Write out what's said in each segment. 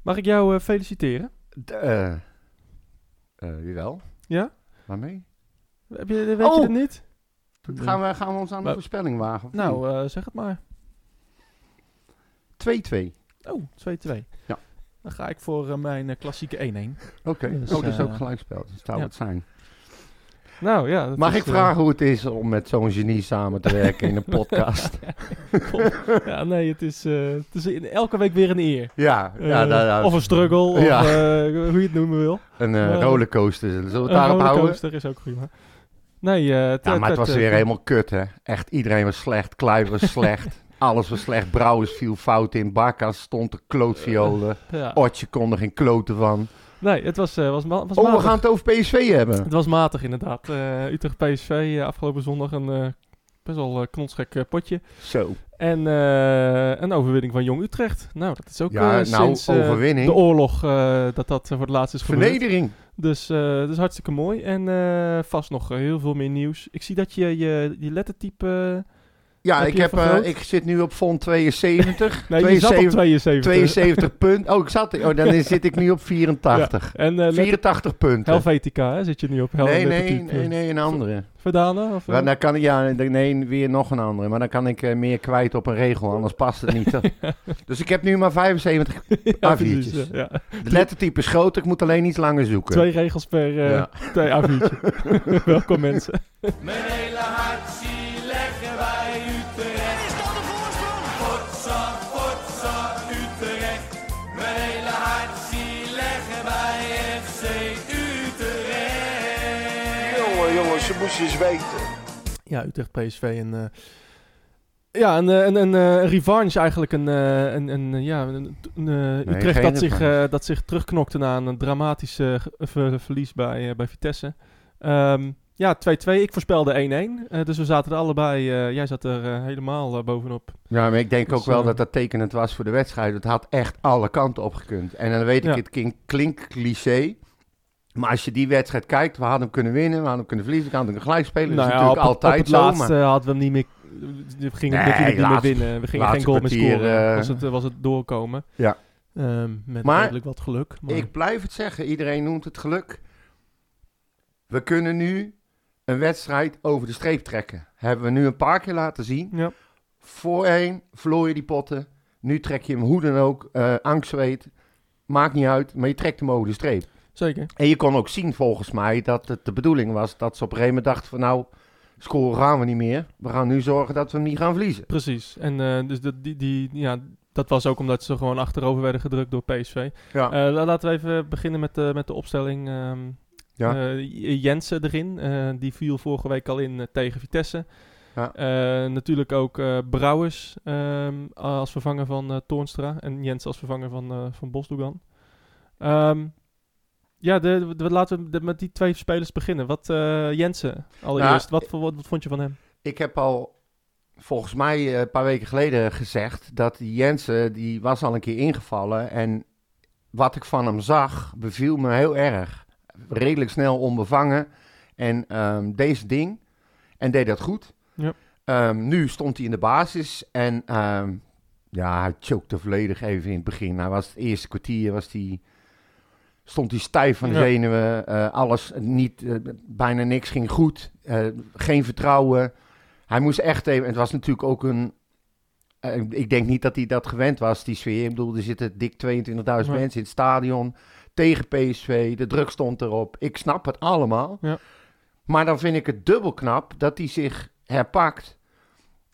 Mag ik jou eh, feliciteren? D- eh, eh, jawel. Ja? Waarmee? Heb je, weet Oh! je dat niet? Gaan we, gaan we ons aan de Maar- voorspelling wagen? of niet? Nou, eh, zeg het maar. 2-2. Oh, 2-2. Ja. Dan ga ik voor eh, mijn eh, klassieke 1-1. Oké, Dus, oh, dat is eh, ook gelijkspel. Dat zou ja. het zijn. Nou ja. dat Mag is, ik eh, vragen hoe het is om met zo'n genie samen te werken in een podcast? kom. ja, nee, het is, eh, het is in, elke week weer een eer. ja, ja Eh, daar- daar- of een struggle, Ja. of eh, hoe je het noemen wil. een eh, eh, rollercoaster. Zullen we het Een daarop houden? rollercoaster is ook prima. Nee, eh Ja, maar het was weer helemaal. helemaal kut, hè? Echt, iedereen was slecht. Kluivert was slecht. Alles was slecht. Brouwers viel fout in. Barkas stond de klootviolen. Ja. Otje kon er geen kloten van. Nee, het was, eh, was, ma- was Oh, we matig. gaan het over PSV hebben. Het was matig inderdaad. Eh, Utrecht PSV eh, afgelopen zondag een eh, best wel eh, knotsgek eh, potje. Zo. En eh, een overwinning van Jong Utrecht. Nou, dat is ook Ja, eh, nou, sinds eh, overwinning. de oorlog eh, dat dat eh, voor het laatst is gebeurd. Vernedering. Dus eh, dat is hartstikke mooi. En eh, vast nog eh, heel veel meer nieuws. Ik zie dat je je, je lettertype... eh, Ja, Heb ik, je heb, eh, vergroot? ik zit nu op fond 72. eh, nee, je zat op 72. 72 punt. Oh, ik zat. Oh, dan is- zit ik nu op 84. En eh, letter- 84 punten. Helvetica, hè? Zit je nu op Hel nee, nee, lettertype? nee, nee, een andere. Verdana? Of, eh? Maar dan kan ik, ja, dan- nee, weer nog een andere. Maar dan kan ik eh, meer kwijt op een regel, anders past het niet. Dus ik heb nu maar 75. Ja, precies, A4'tjes. eh, ja. Ja. De lettertype is groot, ik moet alleen iets langer zoeken. Twee regels per eh, Ja. twee A4'tje. Welkom mensen. Mijn hele hart zie leggen wij Utrecht. Is dat de voorsprong? Potsa, potsa, Utrecht. Mijn hele hart zie leggen wij FC Utrecht. Jongen, jongen, ze moest je eens weten. Ja, Utrecht PSV en eh, ja, een, eh, een, een, eh, revanche eigenlijk. Een, eh, een, een, eh, ja, een, een, eh, Utrecht geen dat zich, revanche. eh, dat zich terugknokte na een dramatisch eh, ge- ver- verlies bij, eh, bij Vitesse. Ehm, ja, 2-2. Ik voorspelde 1-1. eh, dus we zaten er allebei. eh, jij zat er eh, helemaal eh, bovenop. Ja, maar ik denk Dus, ook wel eh, dat dat tekenend was voor de wedstrijd. Het had echt alle kanten opgekund. En dan weet ik, Ja. het klink- klinkt cliché. Maar als je die wedstrijd kijkt, we hadden hem kunnen winnen, we hadden hem kunnen verliezen, we hadden hem gelijk spelen. dat is Nou ja, op, natuurlijk het- op altijd het zo. laatste maar hadden we hem niet meer. We gingen Nee, natuurlijk niet meer laatste- winnen. We gingen geen laatste goal meer kwartier, scoren. eh, was, het, was het doorkomen. Ja. Ehm, met Maar- redelijk wat geluk. Maar, ik blijf het zeggen, iedereen noemt het geluk. We kunnen nu een wedstrijd over de streep trekken. Hebben we nu een paar keer laten zien. ja. Voorheen verloor je die potten. Nu trek je hem hoe dan ook, eh angstzweet. Maakt niet uit, maar je trekt hem over de streep. Zeker. En je kon ook zien volgens mij dat het de bedoeling was dat ze op een gegeven moment dachten van nou, scoren gaan we niet meer. We gaan nu zorgen dat we hem niet gaan verliezen. Precies. En eh, dus dat, die, die, ja, dat was ook omdat ze gewoon achterover werden gedrukt door PSV. Ja, Eh, la- laten we even beginnen met de, met de opstelling. ehm, Ja. eh, J- Jensen erin. eh, die viel vorige week al in eh, tegen Vitesse. Ja. Eh, natuurlijk ook eh, Brouwers ehm, als vervanger van eh Toornstra. En Jensen als vervanger van, eh van Bosdoegan. Ehm, ja, de, de- laten we de- met die twee spelers beginnen. Wat, eh, Jensen, allereerst. wat, voor- wat, wat vond je van hem? ik heb al volgens mij eh, een paar weken geleden gezegd dat die Jensen, die was al een keer ingevallen. En wat ik van hem zag, beviel me heel erg. Redelijk snel onbevangen. En ehm, deze ding. En deed dat goed. Ja. Ehm, nu stond hij in de basis. En ehm, ja, hij chokte volledig even in het begin. Hij was het eerste kwartier was die, stond hij stijf van de Ja. zenuwen. eh, alles niet, eh, bijna niks ging goed. eh, geen vertrouwen. Hij moest echt even. Het was natuurlijk ook een. eh, ik denk niet dat hij dat gewend was, die sfeer. Ik bedoel, er zitten dik 22.000 Nee. mensen in het stadion. Tegen PSV. De druk stond erop. Ik snap het allemaal. Ja. Maar dan vind ik het dubbel knap dat hij zich herpakt.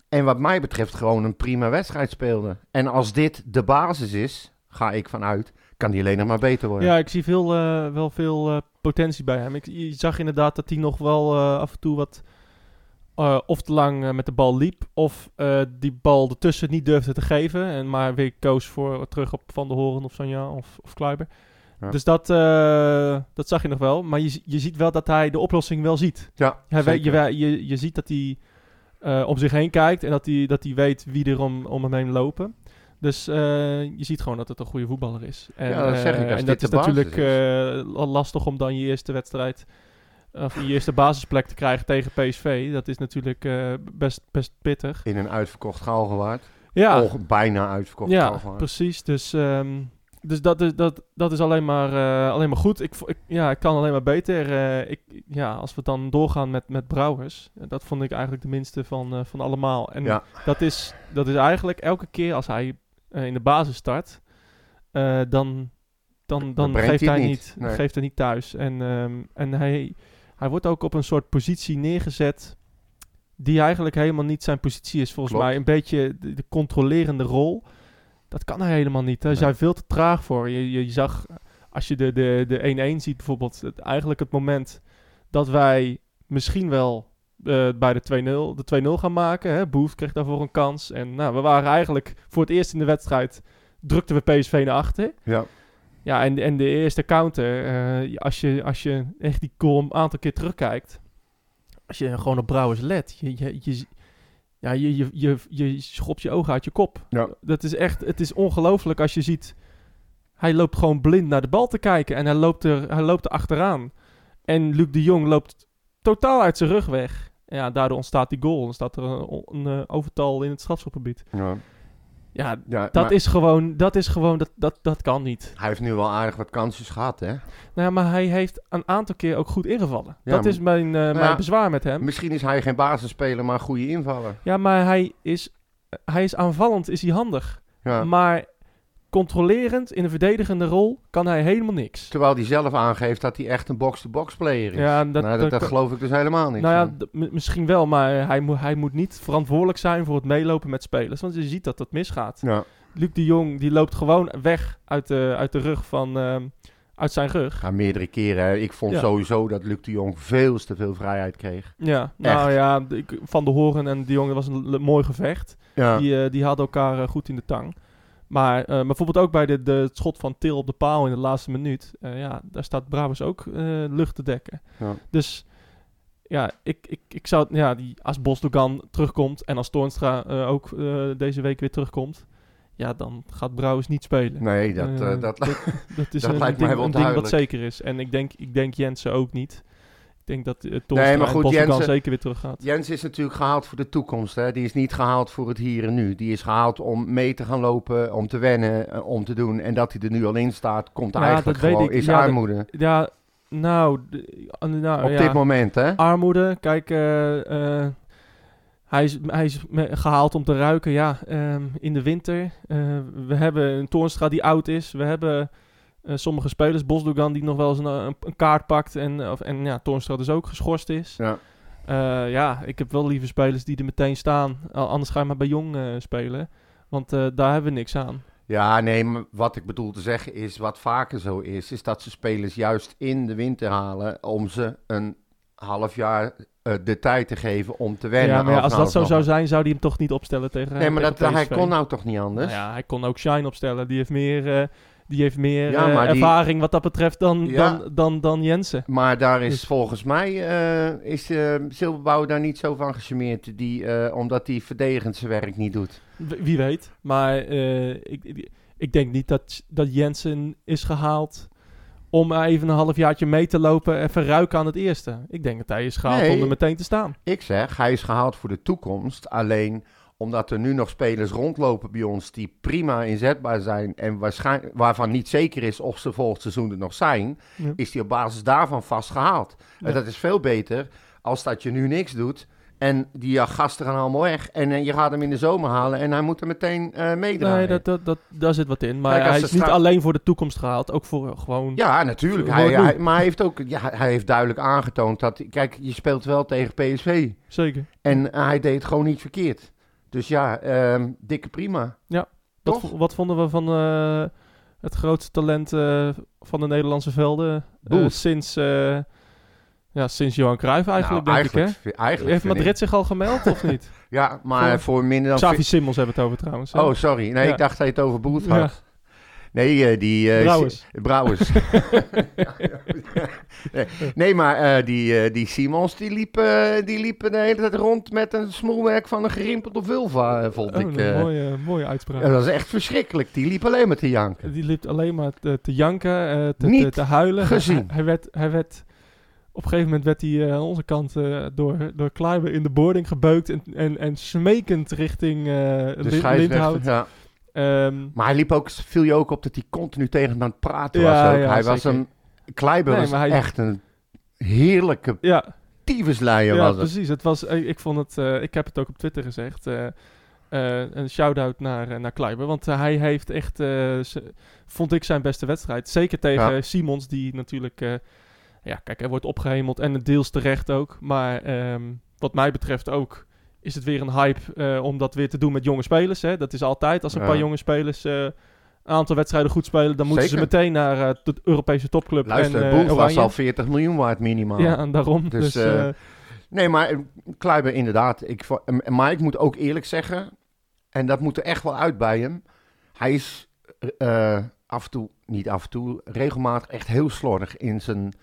En wat mij betreft gewoon een prima wedstrijd speelde. En als dit de basis is, ga ik vanuit, kan die alleen nog maar beter worden. Ja, ik zie veel, eh, wel veel eh, potentie bij hem. Ik je zag inderdaad dat hij nog wel eh, af en toe wat eh, of te lang eh, met de bal liep, of eh, die bal ertussen niet durfde te geven. En maar weer koos voor terug op Van der Horen of Sonja of, of Kluiber. Ja. Dus dat, eh, dat zag je nog wel. Maar je, z- je ziet wel dat hij de oplossing wel ziet. Ja, Hij weet, je, zeker. we- je, je ziet dat hij eh, om zich heen kijkt en dat hij, dat hij weet wie er om, om hem heen lopen. Dus eh, je ziet gewoon dat het een goede voetballer is. En, Ja, dat zeg ik, eh, als en dat dit de is basis natuurlijk eh, la- lastig om dan je eerste wedstrijd of je eerste basisplek te krijgen tegen PSV. Dat is natuurlijk eh, best, best pittig. In een uitverkocht Galgenwaard. Ja, Oh, bijna uitverkocht ja Galgenwaard. precies. Dus, ehm, Dus dat is, dat, dat is alleen, maar, eh, alleen maar goed. Ik, vo- ik, ja, ik kan alleen maar beter. eh, ik, ja, als we dan doorgaan met, met Brouwers. eh, Dat vond ik eigenlijk de minste van, eh, van allemaal. En Ja. dat, is, dat is eigenlijk elke keer als hij eh, in de basis start. eh, dan, dan, dan brengt geeft hij hij het niet, niet. Nee. geeft hij niet thuis. En, ehm, en hij, hij wordt ook op een soort positie neergezet. Die eigenlijk helemaal niet zijn positie is, volgens Klopt. mij. Een beetje de, de controlerende rol. Dat kan hij helemaal niet. Daar is Nee. hij veel te traag voor. Je, je, je zag, als je de 1-1 de, de 1-1 ziet bijvoorbeeld, het, eigenlijk het moment dat wij misschien wel eh, bij de 2-0 de 2-0 gaan maken. Hè? Boef kreeg daarvoor een kans. En nou, we waren eigenlijk voor het eerst in de wedstrijd, drukten we PSV naar achter. Ja. Ja, en, en de eerste counter, eh, als, je, als je echt die goal een aantal keer terugkijkt, als je gewoon op Brouwers let, je, je, je, ja, je, je, je, je schopt je ogen uit je kop. Ja. Dat is echt, het is ongelooflijk als je ziet, hij loopt gewoon blind naar de bal te kijken en hij loopt er, hij loopt er achteraan. En Luc de Jong loopt totaal uit zijn rug weg. Ja, daardoor ontstaat die goal. Dan staat er een, een eh, overtal in het strafschopgebied. Ja. Ja, Ja, dat maar is gewoon, dat is gewoon, dat, dat, dat kan niet. Hij heeft nu wel aardig wat kansjes gehad, hè? Nou ja, maar hij heeft een aantal keer ook goed ingevallen. Ja, dat maar- Nou is mijn, eh, mijn ja. bezwaar met hem. Misschien is hij geen basisspeler, maar een goede invaller. Ja, maar hij is, hij is aanvallend, is hij handig. Ja. Maar controlerend in een verdedigende rol kan hij helemaal niks. Terwijl hij zelf aangeeft dat hij echt een box-to-box player is. Ja, en dat, nou, dat, dat geloof ik dus helemaal niet. nou ja, d- m- misschien wel, maar hij, moet hij moet niet verantwoordelijk zijn voor het meelopen met spelers. Want je ziet dat dat misgaat. ja. Luc de Jong die loopt gewoon weg uit de, uit de rug van. ehm, uit zijn rug. Ja, meerdere keren. hè. Ik vond Ja. sowieso dat Luc de Jong veel te veel vrijheid kreeg. Ja, nou Echt. ja, d- ik- Van de Horen en de Jong, dat was een le- mooi gevecht. Ja, Die, eh, die hadden elkaar eh, goed in de tang. Maar eh, bijvoorbeeld ook bij de, de, het schot van Til op de paal in de laatste minuut. eh, ja, daar staat Brabus ook eh, lucht te dekken. Ja. Dus ja, ik, ik, ik zou, ja die, als Bosdogan terugkomt en als Toornstra eh, ook eh, deze week weer terugkomt. Ja, dan gaat Brouwers niet spelen. nee, dat, eh, Eh, dat, Dat is dat een, lijkt ding, mij wel een ding wat duidelijk. zeker is. En ik denk, ik denk Jensen ook niet. Ik denk dat eh, Toornstra Nee, maar en goed, Bosdogan Jensen- zeker weer terug gaat. Jens is natuurlijk gehaald voor de toekomst. Hè? Die is niet gehaald voor het hier en nu. Die is gehaald om mee te gaan lopen, om te wennen, eh, om te doen. En dat hij er nu al in staat, komt Nou, eigenlijk dat weet gewoon, ik. is Ja, dat- armoede. Ja, nou... d- nou Op ja. dit moment, hè? armoede. Kijk, eh, eh, hij is, hij is me- gehaald om te ruiken. Ja, ehm, in de winter. Eh, we hebben een Toornstra die oud is. We hebben eh, sommige spelers. Bosdogan die nog wel eens een, eh, een, een kaart pakt. En, eh, of, en ja, Toornstra dus ook geschorst is. Ja. Eh, ja, ik heb wel liever spelers die er meteen staan. Al- Anders ga je maar bij Jong eh, spelen. Want eh, daar hebben we niks aan. Ja, nee, maar wat ik bedoel te zeggen is, wat vaker zo is, is dat ze spelers juist in de winter halen om ze een half jaar eh, de tijd te geven om te wennen. ja, maar ja, aan als van dat zo alles zou nog wat. zijn, zou die hem toch niet opstellen tegen Nee, maar dat, tegen hij PSV. kon nou toch niet anders? Nou ja, hij kon ook Shine opstellen. Die heeft meer, eh, die heeft meer Ja, eh, maar die- ervaring wat dat betreft dan, Ja. dan, dan, dan Jensen. Maar daar is Dus- volgens mij eh, is eh, Silberbouw daar niet zo van gecharmeerd, die, eh, omdat hij verdedigend zijn werk niet doet. W- wie weet. Maar eh, ik, ik- ik denk niet dat, dat Jensen is gehaald om even een halfjaartje mee te lopen. Even ruiken aan het eerste. Ik denk dat hij is gehaald Nee. om er meteen te staan. Ik zeg, hij is gehaald voor de toekomst, alleen omdat er nu nog spelers rondlopen bij ons die prima inzetbaar zijn en waarschijn- waarvan niet zeker is of ze volgend seizoen er nog zijn, Ja. is hij op basis daarvan vastgehaald. Ja. En dat is veel beter als dat je nu niks doet en die ja, gasten gaan allemaal weg en eh, je gaat hem in de zomer halen en hij moet er meteen eh meedraaien. Nee, dat, dat, dat, daar zit wat in. Maar Kijk, als hij ze is niet straks- alleen voor de toekomst gehaald. Ook voor eh, gewoon... Ja, natuurlijk. Voor Hij, het doen. hij- maar hij heeft ook ja, hij heeft duidelijk aangetoond dat. Kijk, je speelt wel tegen PSV. Zeker. En eh, hij deed het gewoon niet verkeerd. Dus ja, ehm, dikke prima. Wat, Toch? vo- wat vonden we van eh, het grootste talent eh, van de Nederlandse velden eh, Boef. sinds, eh, ja, sinds Johan Cruijff eigenlijk, Nou, denk ik, vi- hè? eigenlijk Heeft vind Madrid zich al gemeld of niet? ik- Ja, maar Voor- voor, minder dan... Xavi Simmons hebben we het over trouwens. hè? Nou, Oh, sorry. Nee, Ja. ik dacht dat je het over Boet Ja. had. Nee, eh, die... eh, Brouwers. Si- Brouwers. nee, nee, maar eh, die, eh, die Simons, die liep, eh, die liep de hele tijd rond met een smoelwerk van een gerimpelde vulva, eh, vond Oh, ik. een eh. mooie, mooie uitspraak. Ja, dat is echt verschrikkelijk. Die liep alleen maar te janken. Die liep alleen maar te, te janken, eh, te, te, Niet te huilen. gezien. Hij, hij werd, hij werd, op een gegeven moment werd hij eh, aan onze kant eh, door, door Kluiber in de boarding gebeukt en, en, en smekend richting eh Lin- Dus scheidsrechter, Lindhout. Ja. Ehm, Maar hij liep ook, viel je ook op dat hij continu tegen hem aan het praten Ja, was. Ook. ja, hij was zeker. een... Kleiber Nee, was maar hij- echt een heerlijke ja, tyfusleier ja was het. precies. Het was, ik, ik vond het, eh, ik heb het ook op Twitter gezegd. eh, eh, een shout-out naar, eh, naar Kleiber. Want eh, hij heeft echt, eh, ze- vond ik zijn beste wedstrijd. Zeker tegen Ja. Simons, die natuurlijk, eh, ja, kijk, hij wordt opgehemeld en deels terecht ook. Maar ehm, wat mij betreft ook is het weer een hype eh, om dat weer te doen met jonge spelers. Hè? Dat is altijd, als een Ja. paar jonge spelers eh, een aantal wedstrijden goed spelen, dan moeten Zeker. ze meteen naar eh, de Europese topclub. Luister, en, eh, Boelt was Oranje. al 40 miljoen waard minimaal. Ja, en daarom. Dus, Dus, eh, eh, Nee, maar eh, Kluiber inderdaad. Ik, vo- eh, maar ik moet ook eerlijk zeggen, en dat moet er echt wel uit bij hem. Hij is eh, af en toe, niet af en toe, regelmatig echt heel slordig in zijn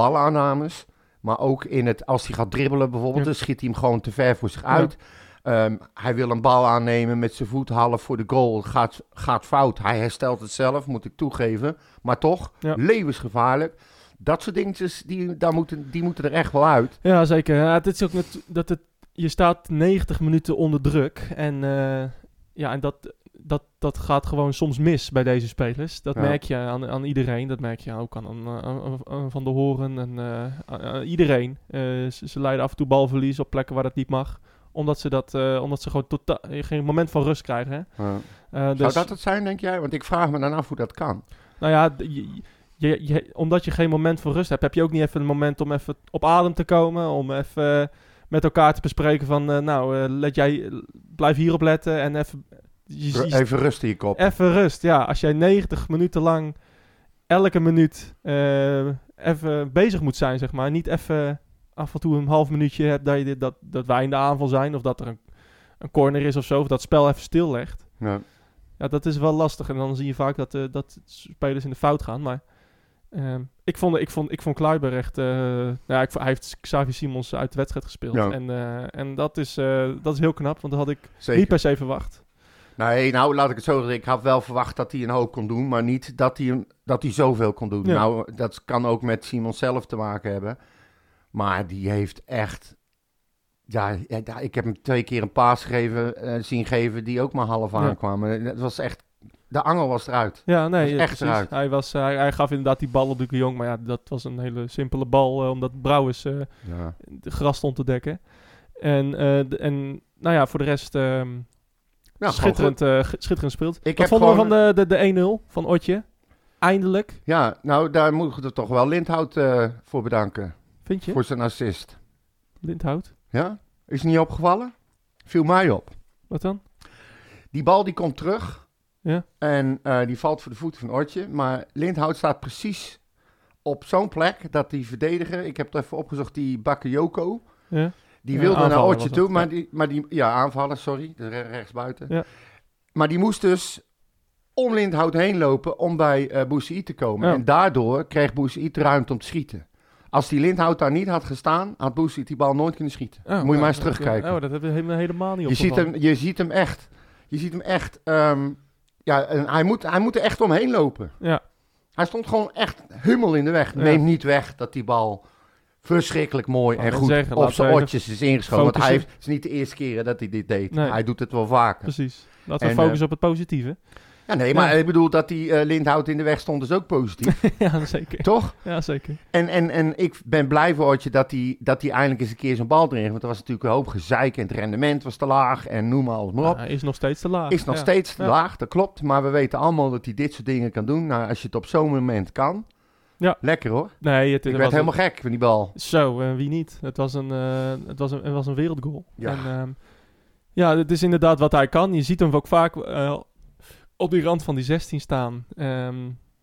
balaannames. Maar ook in het, als hij gaat dribbelen Ja. bijvoorbeeld, dan schiet hij hem gewoon te ver voor zich Ja. uit. Ehm, hij wil een bal aannemen met zijn voet, half voor de goal. Gaat, gaat fout. Hij herstelt het zelf, moet ik toegeven. Maar toch, Ja. levensgevaarlijk. Dat soort dingetjes, die, daar moeten, die moeten er echt wel uit. Ja, zeker. Ja, het is ook net, dat het, je staat 90 minuten onder druk. En, eh, ja, en dat, dat, dat gaat gewoon soms mis bij deze spelers. Dat Ja. merk je aan, aan iedereen. Dat merk je ook aan, aan, aan- aan Van der Horen en eh, aan, aan iedereen. Eh, ze, ze leiden af en toe balverlies op plekken waar dat niet mag. Omdat ze, dat, eh, omdat ze gewoon totaal, geen moment van rust krijgen. Hè? Eh, Zou dus- dat het zijn, denk jij? Want ik vraag me dan af hoe dat kan. Nou ja, d- je, je, je- omdat je geen moment voor rust hebt, heb je ook niet even een moment om even op adem te komen. Om even eh, met elkaar te bespreken van, eh, nou, eh, let jij, blijf hierop letten en even... je- Ru- je- Even rust in je kop. even rust, ja. Als jij 90 minuten lang, elke minuut, eh, even bezig moet zijn, zeg maar. Niet even af en toe een half minuutje hebt dat, je dit, dat, dat wij in de aanval zijn of dat er een, een corner is of zo. Of dat spel even stillegt. Ja. Ja, dat is wel lastig. En dan zie je vaak dat, eh, dat spelers in de fout gaan. Maar ehm, ik, vond, ik, vond, ik vond Kluiber echt... eh, nou ja, ik, vond- hij heeft Xavi Simons uit de wedstrijd gespeeld. Ja. En, eh, en dat, is, eh, dat is heel knap, want dat had ik niet Zeker. per se verwacht. Nee, nou laat ik het zo zeggen. Ik had wel verwacht dat hij een hoop kon doen, maar niet dat hij, een- dat hij zoveel kon doen. Ja. Nou, dat kan ook met Simon zelf te maken hebben. Maar die heeft echt... Ja, ja, ja, ik heb hem twee keer een paas gegeven, eh, zien geven die ook maar half Ja. aankwamen. Het was echt... De angel was eruit. Ja, nee, is ja, echt precies. eruit. Hij, was, eh, hij, hij gaf inderdaad die bal op de Jong. Maar ja, dat was een hele simpele bal, eh, omdat Brouwers... eh, Ja. de gras stond te dekken. En, eh, d- en nou ja, voor de rest ehm, Nou, gewoon schitterend, eh, ge- schitterend speelt. Wat Ik heb vonden we van gewoon- de, de, de 1-0 van Otje? Eindelijk, goed. ja, nou daar moeten we toch wel Lindhout eh, voor bedanken. vind je? Voor zijn assist. Lindhout. Ja? Is niet opgevallen? Viel mij op. Wat dan? Die bal die komt terug. Ja. En eh, die valt voor de voeten van Ortje. Maar Lindhout staat precies op zo'n plek dat die verdediger... Ik heb het even opgezocht, die Bakayoko... Ja. Die Ja, wilde naar aanvaller Ortje was toe, dat, maar ja. die, maar die... Ja, aanvaller, sorry. De re- rechtsbuiten. Ja. Maar die moest dus om Lindhout heen lopen om bij eh Boussaïd te komen. Ja. En daardoor kreeg Boussaïd de ruimte om te schieten. Als die Lindhout daar niet had gestaan, had Boussaïd die bal nooit kunnen schieten. Oh, Moet je nou, maar eens dat- terugkijken. Oh, dat hebben we helemaal- helemaal niet Je ziet, opgevallen. hem, je ziet hem echt. Je ziet hem echt. ehm, ja, en hij, moet, hij moet er echt omheen lopen. Ja. Hij stond gewoon echt hummel in de weg. Ja. Neem niet weg dat die bal verschrikkelijk mooi Wou en net goed zeggen, op laten we zijn even oortjes is ingeschoten. Want hij focussen. heeft, het is niet de eerste keer dat hij dit deed. Nee. Hij doet het wel vaker. Precies. Laten we En, eh, focussen op het positieve. ja, nee, maar Ja. ik bedoel dat die eh, Lindhout in de weg stond is ook positief, ja, zeker. toch? Ja, zeker. En, en, en ik ben blij voor Oortje dat hij dat hij eindelijk eens een keer zijn bal erin heeft. Want er was natuurlijk een hoop gezeik en het rendement was te laag en noem maar alles maar op. Ja, hij is nog steeds te laag. Is nog Ja. steeds Ja. laag, dat klopt. Maar we weten allemaal dat hij dit soort dingen kan doen. Nou, als je het op zo'n moment kan. Ja. Lekker hoor. Nee, het, Ik het werd was een- helemaal gek van die bal. Zo, en wie niet? Het was een, eh, het was een, het was een wereldgoal. Ja. En, ehm, ja, het is inderdaad wat hij kan. Je ziet hem ook vaak eh, op die rand van die 16 staan. ehm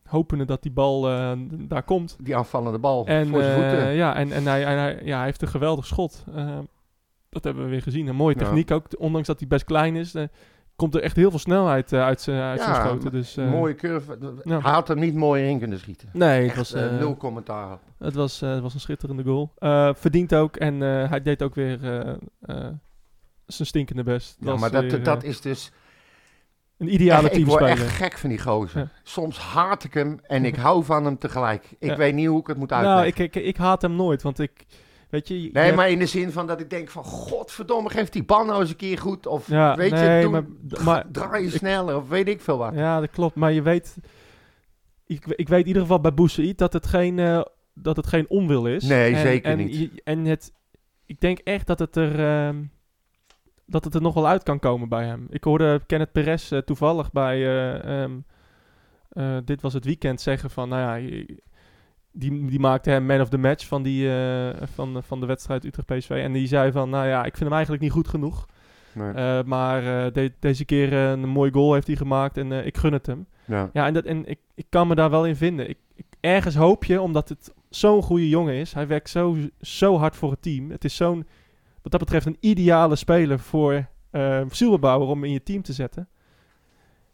hopende dat die bal eh, daar komt. Die aanvallende bal En, voor zijn voeten. eh, ja, en, en, hij, en hij- ja, hij heeft een geweldig schot. Ehm, dat hebben we weer gezien. Een mooie Ja. techniek ook. Ondanks dat hij best klein is, eh, komt er echt heel veel snelheid eh, uit zijn uit zijn Ja, schoten. Dus, eh, Mooie curve. ja. Hij had hem niet mooier in kunnen schieten. Nee, het Echt, was, eh, eh, nul commentaar. op. het was, eh, het was een schitterende goal. Eh verdient ook. En eh, hij deed ook weer eh, eh, zijn stinkende best. Ja, was maar dat, weer, dat eh, is dus... een ideale echt, ik word teamspeler. echt gek van die gozer. Ja. Soms haat ik hem en ik hou van hem tegelijk. Ik Ja. weet niet hoe ik het moet uitleggen. Nou, ik, ik, ik haat hem nooit. Want ik, Weet je, je- Nee, je- maar in de zin van dat ik denk van... Godverdomme, geef die bal nou eens een keer goed. Of Ja, weet nee, je, doe, maar- dra- maar- draai je ik- sneller. Of weet ik veel wat. Ja, dat klopt. Maar je weet... Ik, ik weet in ieder geval bij Boussaïd dat het geen, eh, dat het geen onwil is. Nee, en, zeker en, niet. je- en het... Ik denk echt dat het er... ehm, dat het er nog wel uit kan komen bij hem. Ik hoorde Kenneth Perez eh, toevallig bij... eh, ehm, eh, dit was het weekend zeggen van... Nou ja, je- die, die maakte hem man of the match van, die, eh, van, van de wedstrijd Utrecht-PSV. En die zei van... Nou ja, ik vind hem eigenlijk niet goed genoeg. Nee, Eh, maar eh, de- deze keer eh, een mooi goal heeft hij gemaakt en eh, ik gun het hem. ja. Ja, en, dat, en ik, ik kan me daar wel in vinden. Ik, ik, ergens hoop je, omdat het zo'n goede jongen is. Hij werkt zo, zo hard voor het team. Het is zo'n, wat dat betreft, een ideale speler voor eh Zielbebouwer om in je team te zetten.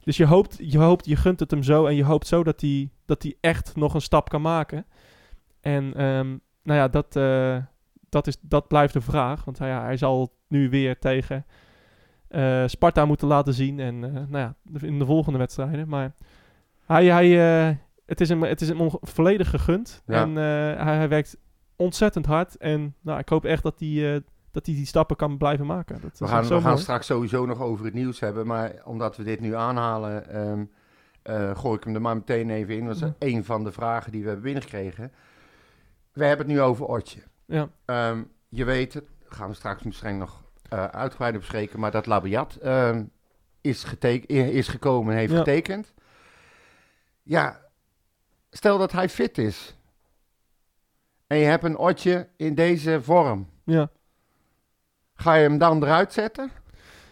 Dus je hoopt, je hoopt, je gunt het hem zo en je hoopt zo dat hij, dat hij echt nog een stap kan maken. En ehm, nou ja, dat, eh, dat, is, dat blijft de vraag. Want hij- ja, hij zal nu weer tegen eh, Sparta moeten laten zien. En eh, nou ja, de- in de volgende wedstrijden. Maar hij, hij, eh, het is hem, het is hem onge- volledig gegund. Ja. En eh, hij, hij werkt ontzettend hard. En nou, ik hoop echt dat hij, eh, dat hij die stappen kan blijven maken. Dat We is gaan, echt zo we gaan mooi. straks sowieso nog over het nieuws hebben. Maar omdat we dit nu aanhalen, ehm, eh, gooi ik hem er maar meteen even in. Dat is Ja. een van de vragen die we hebben binnengekregen. We hebben het nu over Otje. Ja, Ehm, je weet het, gaan we straks misschien nog eh uitgebreider bespreken. Maar dat Labiat ehm, is, geteken- i- is gekomen en heeft Ja. getekend. Ja, stel dat hij fit is. En je hebt een Otje in deze vorm. ja. Ga je hem dan eruit zetten?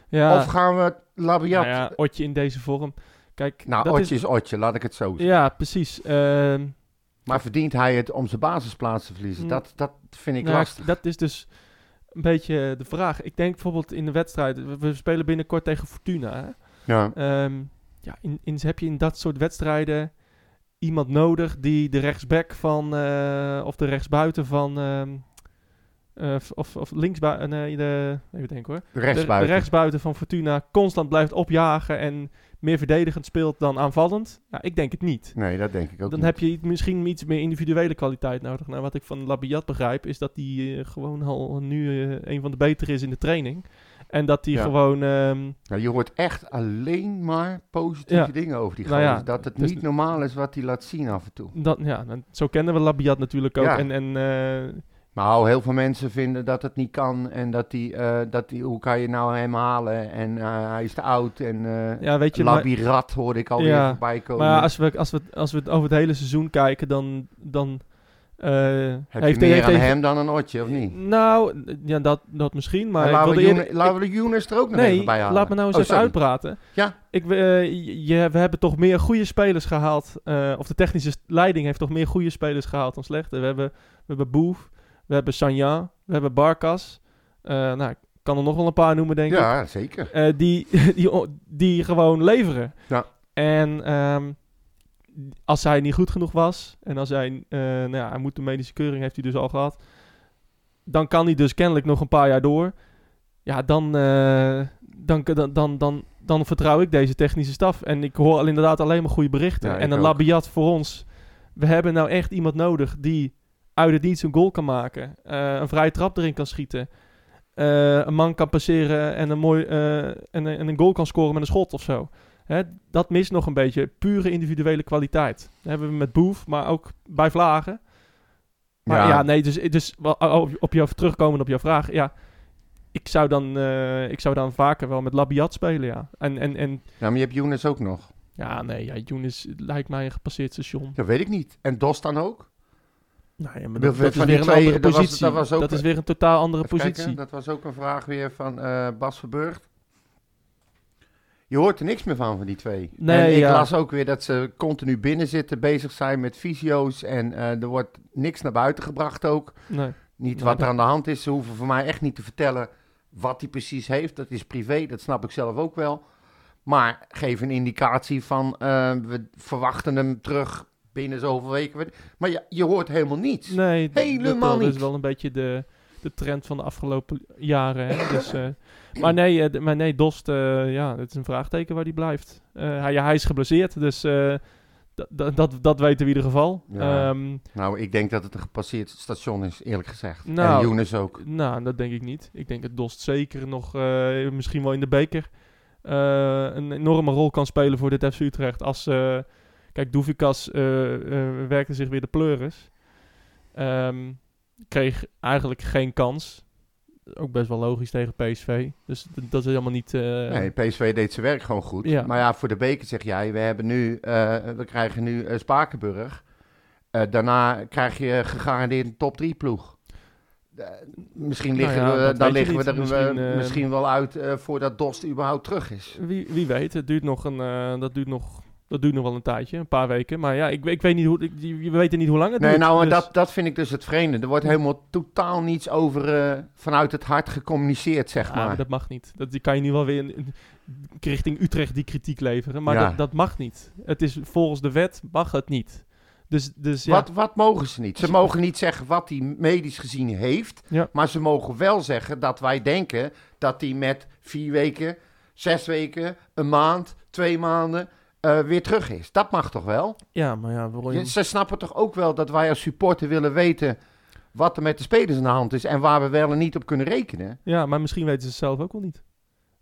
ja. Of gaan we Labiat... Nou ja, Otje in deze vorm. Kijk, Nou, dat Otje is- is... Otje, laat ik het zo zeggen. Ja, precies. Ehm, Maar verdient hij het om zijn basisplaats te verliezen? Mm. Dat, dat vind ik nou ja, lastig. Dat is dus een beetje de vraag. Ik denk bijvoorbeeld in de wedstrijd... We, we spelen binnenkort tegen Fortuna. hè. Ja. Ehm, ja, in, in, heb je in dat soort wedstrijden iemand nodig die de rechtsback van... eh, of de rechtsbuiten van... ehm, eh, of, of linksbuiten... Nee, de, even denken hoor. De, de Rechtsbuiten. rechtsbuiten van Fortuna constant blijft opjagen... en meer verdedigend speelt dan aanvallend? Nou, ik denk het niet. Nee, dat denk ik ook Dan niet. heb je iets- misschien iets meer individuele kwaliteit nodig. Nou, wat ik van Labiat begrijp, is dat hij eh, gewoon al nu eh, een van de betere is in de training. En dat hij Ja. gewoon. ehm, Nou, je hoort echt alleen maar positieve Ja. dingen over die Nou gozer. ja, dat het dus- niet normaal is wat hij laat zien af en toe. dat, ja, dan- zo kennen we Labiat natuurlijk ook. Ja. En, en eh, Nou, heel veel mensen vinden dat het niet kan. En dat die, eh, dat die hoe kan je nou hem halen? En eh, hij is te oud. En eh ja, weet je. maar- labirat hoorde ik alweer Ja, voorbij komen. Maar ja, als, we, als, we, als we het over het hele seizoen kijken, dan. dan eh, Heb heeft je meer heeft- aan heeft- hem dan aan Otje, of niet? Nou, ja, dat, dat misschien. Maar En ik laten, we wilde Younes- eerder- laten we de Younes er ook nog Nee, even bij halen. laat me nou eens Oh, even sorry. uitpraten. Ja. Ik, we- eh, je- je, we hebben toch meer goede spelers gehaald. eh, of de technische st- leiding heeft toch meer goede spelers gehaald dan slechte. We hebben, we hebben Boef, we hebben Sanja, we hebben Barkas. Eh, nou, ik kan er nog wel een paar noemen, denk ik. Ja, zeker. Eh, die, die, o- die gewoon leveren. Ja. En ehm, als hij niet goed genoeg was, en als hij, eh, nou ja, hij moet de medische keuring, heeft hij dus al gehad, dan kan hij dus kennelijk nog een paar jaar door. Ja, dan, eh, dan, dan, dan, dan, dan vertrouw ik deze technische staf. En ik hoor al inderdaad alleen maar goede berichten. Ja, ik en een ook. labiat voor ons. We hebben nou echt iemand nodig die uit het niets een goal kan maken. eh, een vrije trap erin kan schieten. eh, een man kan passeren en een, mooi, eh, en, en een goal kan scoren met een schot of zo. Hè, dat mist nog een beetje pure individuele kwaliteit. Dat hebben we met Boef, maar ook bij Vlagen. Maar ja, nee, dus, dus wel- oh, op jou terugkomen op jouw vraag. Ja, ik zou dan, eh, ik zou dan vaker wel met Labiat spelen, ja. En, en, en Ja, maar je hebt Younes ook nog. ja, nee, ja, Younes lijkt mij een gepasseerd station. Dat weet ik niet. En Dos dan ook? Nee, maar dat- dat is weer een andere positie. dat, Dat is is weer een totaal andere Even kijken, positie. dat was ook een vraag weer van eh, Bas Verburg. Je hoort er niks meer van, van die twee. Nee, en ik ja. las ook weer dat ze continu binnen zitten, bezig zijn met fysio's. En eh, er wordt niks naar buiten gebracht ook. nee. Niet Nee, wat dat- er aan de hand is. Ze hoeven voor mij echt niet te vertellen wat hij precies heeft. Dat is privé, dat snap ik zelf ook wel. Maar geef een indicatie van, eh, we verwachten hem terug binnen zoveel weken. Weet- Maar ja, je hoort helemaal niets. Nee, d- Helemaal dat, dat niet. is wel een beetje de, de trend van de afgelopen jaren. Hè? Dus, eh, maar, nee, eh, d- maar nee, Dost, eh, ja, dat is een vraagteken waar die blijft. Eh, hij, ja, hij is geblesseerd, dus eh, d- Da- da- dat, dat weten we in ieder geval. Ja. Ehm, Nou, ik denk dat het een gepasseerd station is, eerlijk gezegd. Nou. en Younes ook. nou, dat denk ik niet. Ik denk dat Dost zeker nog, eh, misschien wel in de beker, eh, een enorme rol kan spelen voor dit FC Utrecht. Als, eh, kijk, Doevikas eh, eh, werkte zich weer de pleuris. Ehm, kreeg eigenlijk geen kans. Ook best wel logisch tegen PSV. Dus d- dat is helemaal niet... eh, Nee, PSV deed zijn werk gewoon goed. Ja. Maar ja, voor de beker zeg jij, we, hebben nu, eh, we krijgen nu eh, Spakenburg. Eh, daarna krijg je gegarandeerd een top 3 ploeg. Eh, misschien Nou liggen ja, we, dat dan weet je liggen we niet. er eh, misschien, Misschien, eh, wel uit eh, voordat Dost überhaupt terug is. Wie, wie weet, het duurt nog een, eh, dat, duurt nog, dat duurt nog wel een tijdje, een paar weken. Maar ja, ik, ik weet niet hoe, ik, je- we weten niet hoe lang het Nee, duurt. nou, en dus- dat, dat vind ik dus het vreemde. Er wordt helemaal totaal niets over eh, vanuit het hart gecommuniceerd, zeg Ah, maar. maar dat mag niet. Dat, die kan je nu wel weer in- in- richting Utrecht die kritiek leveren. Maar Ja. dat, dat mag niet. Het is volgens de wet mag het niet. Dus, dus ja. Wat, wat mogen ze niet? Ze mogen niet zeggen wat hij medisch gezien heeft. Ja. Maar ze mogen wel zeggen dat wij denken dat hij met vier weken, zes weken, een maand, twee maanden eh, weer terug is. Dat mag toch wel? Ja, maar ja, waarom? Je- ze snappen toch ook wel dat wij als supporter willen weten wat er met de spelers aan de hand is en waar we wel en niet op kunnen rekenen. Ja, maar misschien weten ze het zelf ook wel niet.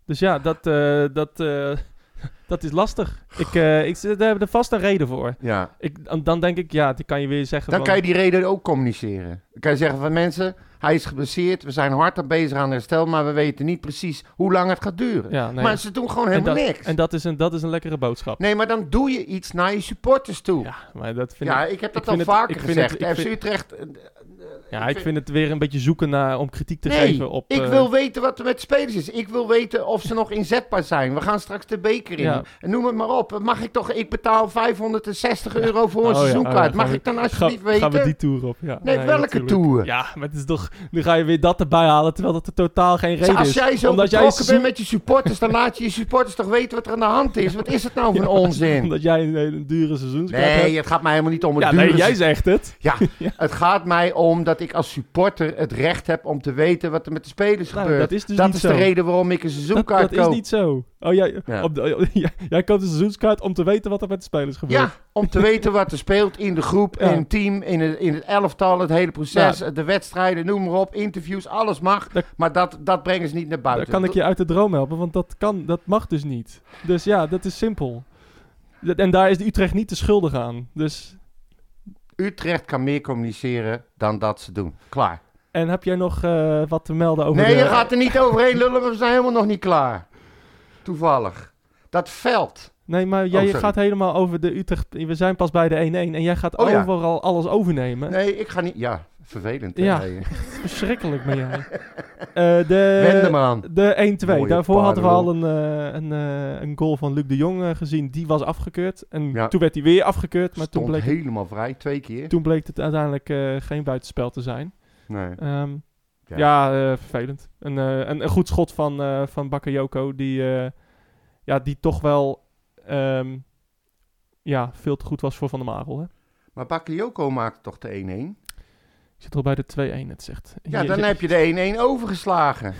Dus ja, dat, eh, dat, eh, dat is lastig. Ik, eh, ik, daar hebben we vast een reden voor. Ja. Ik, dan- dan denk ik, ja, die kan je weer zeggen. Dan van- kan je die reden ook communiceren. Dan kan je zeggen van mensen, hij is geblesseerd, we zijn hard aan bezig aan herstel, maar we weten niet precies hoe lang het gaat duren. ja, nee. Maar ze doen gewoon en helemaal dat, niks. En dat is een, dat is een lekkere boodschap. Nee, maar dan doe je iets naar je supporters toe. Ja, Ja, maar dat vind ik. ik, heb dat ik al vind het- vaker ik vind gezegd. het- ik FC vind- Utrecht... eh, Ja, ik vind het weer een beetje zoeken naar, om kritiek te nee, geven op. ik eh, wil weten wat er met spelers is. Ik wil weten of ze nog inzetbaar zijn. We gaan straks de beker in. Ja. En Noem het maar op. Mag ik toch... Ik betaal 560 euro voor een Oh ja, seizoenkaart. oh ja, gaan Mag we- ik dan Ga- alsjeblieft Gaan weten... we die tour op? Ja. Nee, welke natuurlijk. tour? Ja, maar het is toch. Nu ga je weer dat erbij halen, terwijl dat er totaal geen reden als is. jij zo omdat jij, betrokken een bent met je supporters, dan laat je je supporters toch weten wat er aan de hand is. Wat is het nou voor een seizoen- onzin? omdat jij een, een dure seizoenskaart hebt. Nee, het gaat mij helemaal niet om het Ja, dure nee, jij seizoen. zegt het. Ja, het gaat mij om dat ik als supporter het recht heb om te weten wat er met de spelers Nou, gebeurt. dat is dus niet de zo. reden waarom ik een Dat, seizoenkaart dat is koop. niet zo. Oh, jij, Ja. op de- jij, jij koopt een seizoenskaart om te weten wat er met de spelers gebeurt. Ja, om te weten wat er speelt in de groep, Ja. in het team, in het, in het elftal, het hele proces, Ja. de wedstrijden, noem maar op, interviews, alles mag. Dat- maar dat, dat brengen ze niet naar Daar buiten. kan ik je uit de droom helpen, want dat, kan, dat mag dus niet. Dus ja, dat is simpel. Dat- En daar is de Utrecht niet te schuldig aan. Dus, Utrecht kan meer communiceren dan dat ze doen. Klaar. en heb jij nog eh, wat te melden over Nee, de... je gaat er niet overheen lullen, want we zijn helemaal nog niet klaar. Toevallig. Dat veld. Nee, maar jij Oh, sorry. gaat helemaal over de Utrecht. We zijn pas bij de 1-1 en jij gaat Oh ja. overal alles overnemen. Nee, ik ga niet... Ja, vervelend. hè, Ja. Eh, nee. Verschrikkelijk ben jij. Eh, de Wend hem aan. de 1-2. Mooie Daarvoor hadden we parel. al een, eh, een, eh, een goal van Luc de Jong eh, gezien. Die was afgekeurd. En Ja. toen werd hij weer afgekeurd. Maar Stond toen bleek, helemaal vrij, twee keer. toen bleek het uiteindelijk eh, geen buitenspel te zijn. Nee. Ehm, Ja. ja, eh, vervelend. Een, eh, een, een goed schot van, eh van Bakayoko, die, eh, ja, die toch wel ehm, ja, veel te goed was voor Van der Marel. Hè? Maar Bakayoko maakte toch de 1-1? Ik zit al bij de 2-1, het zegt. Ja, Je- dan je- heb je de 1-1 overgeslagen.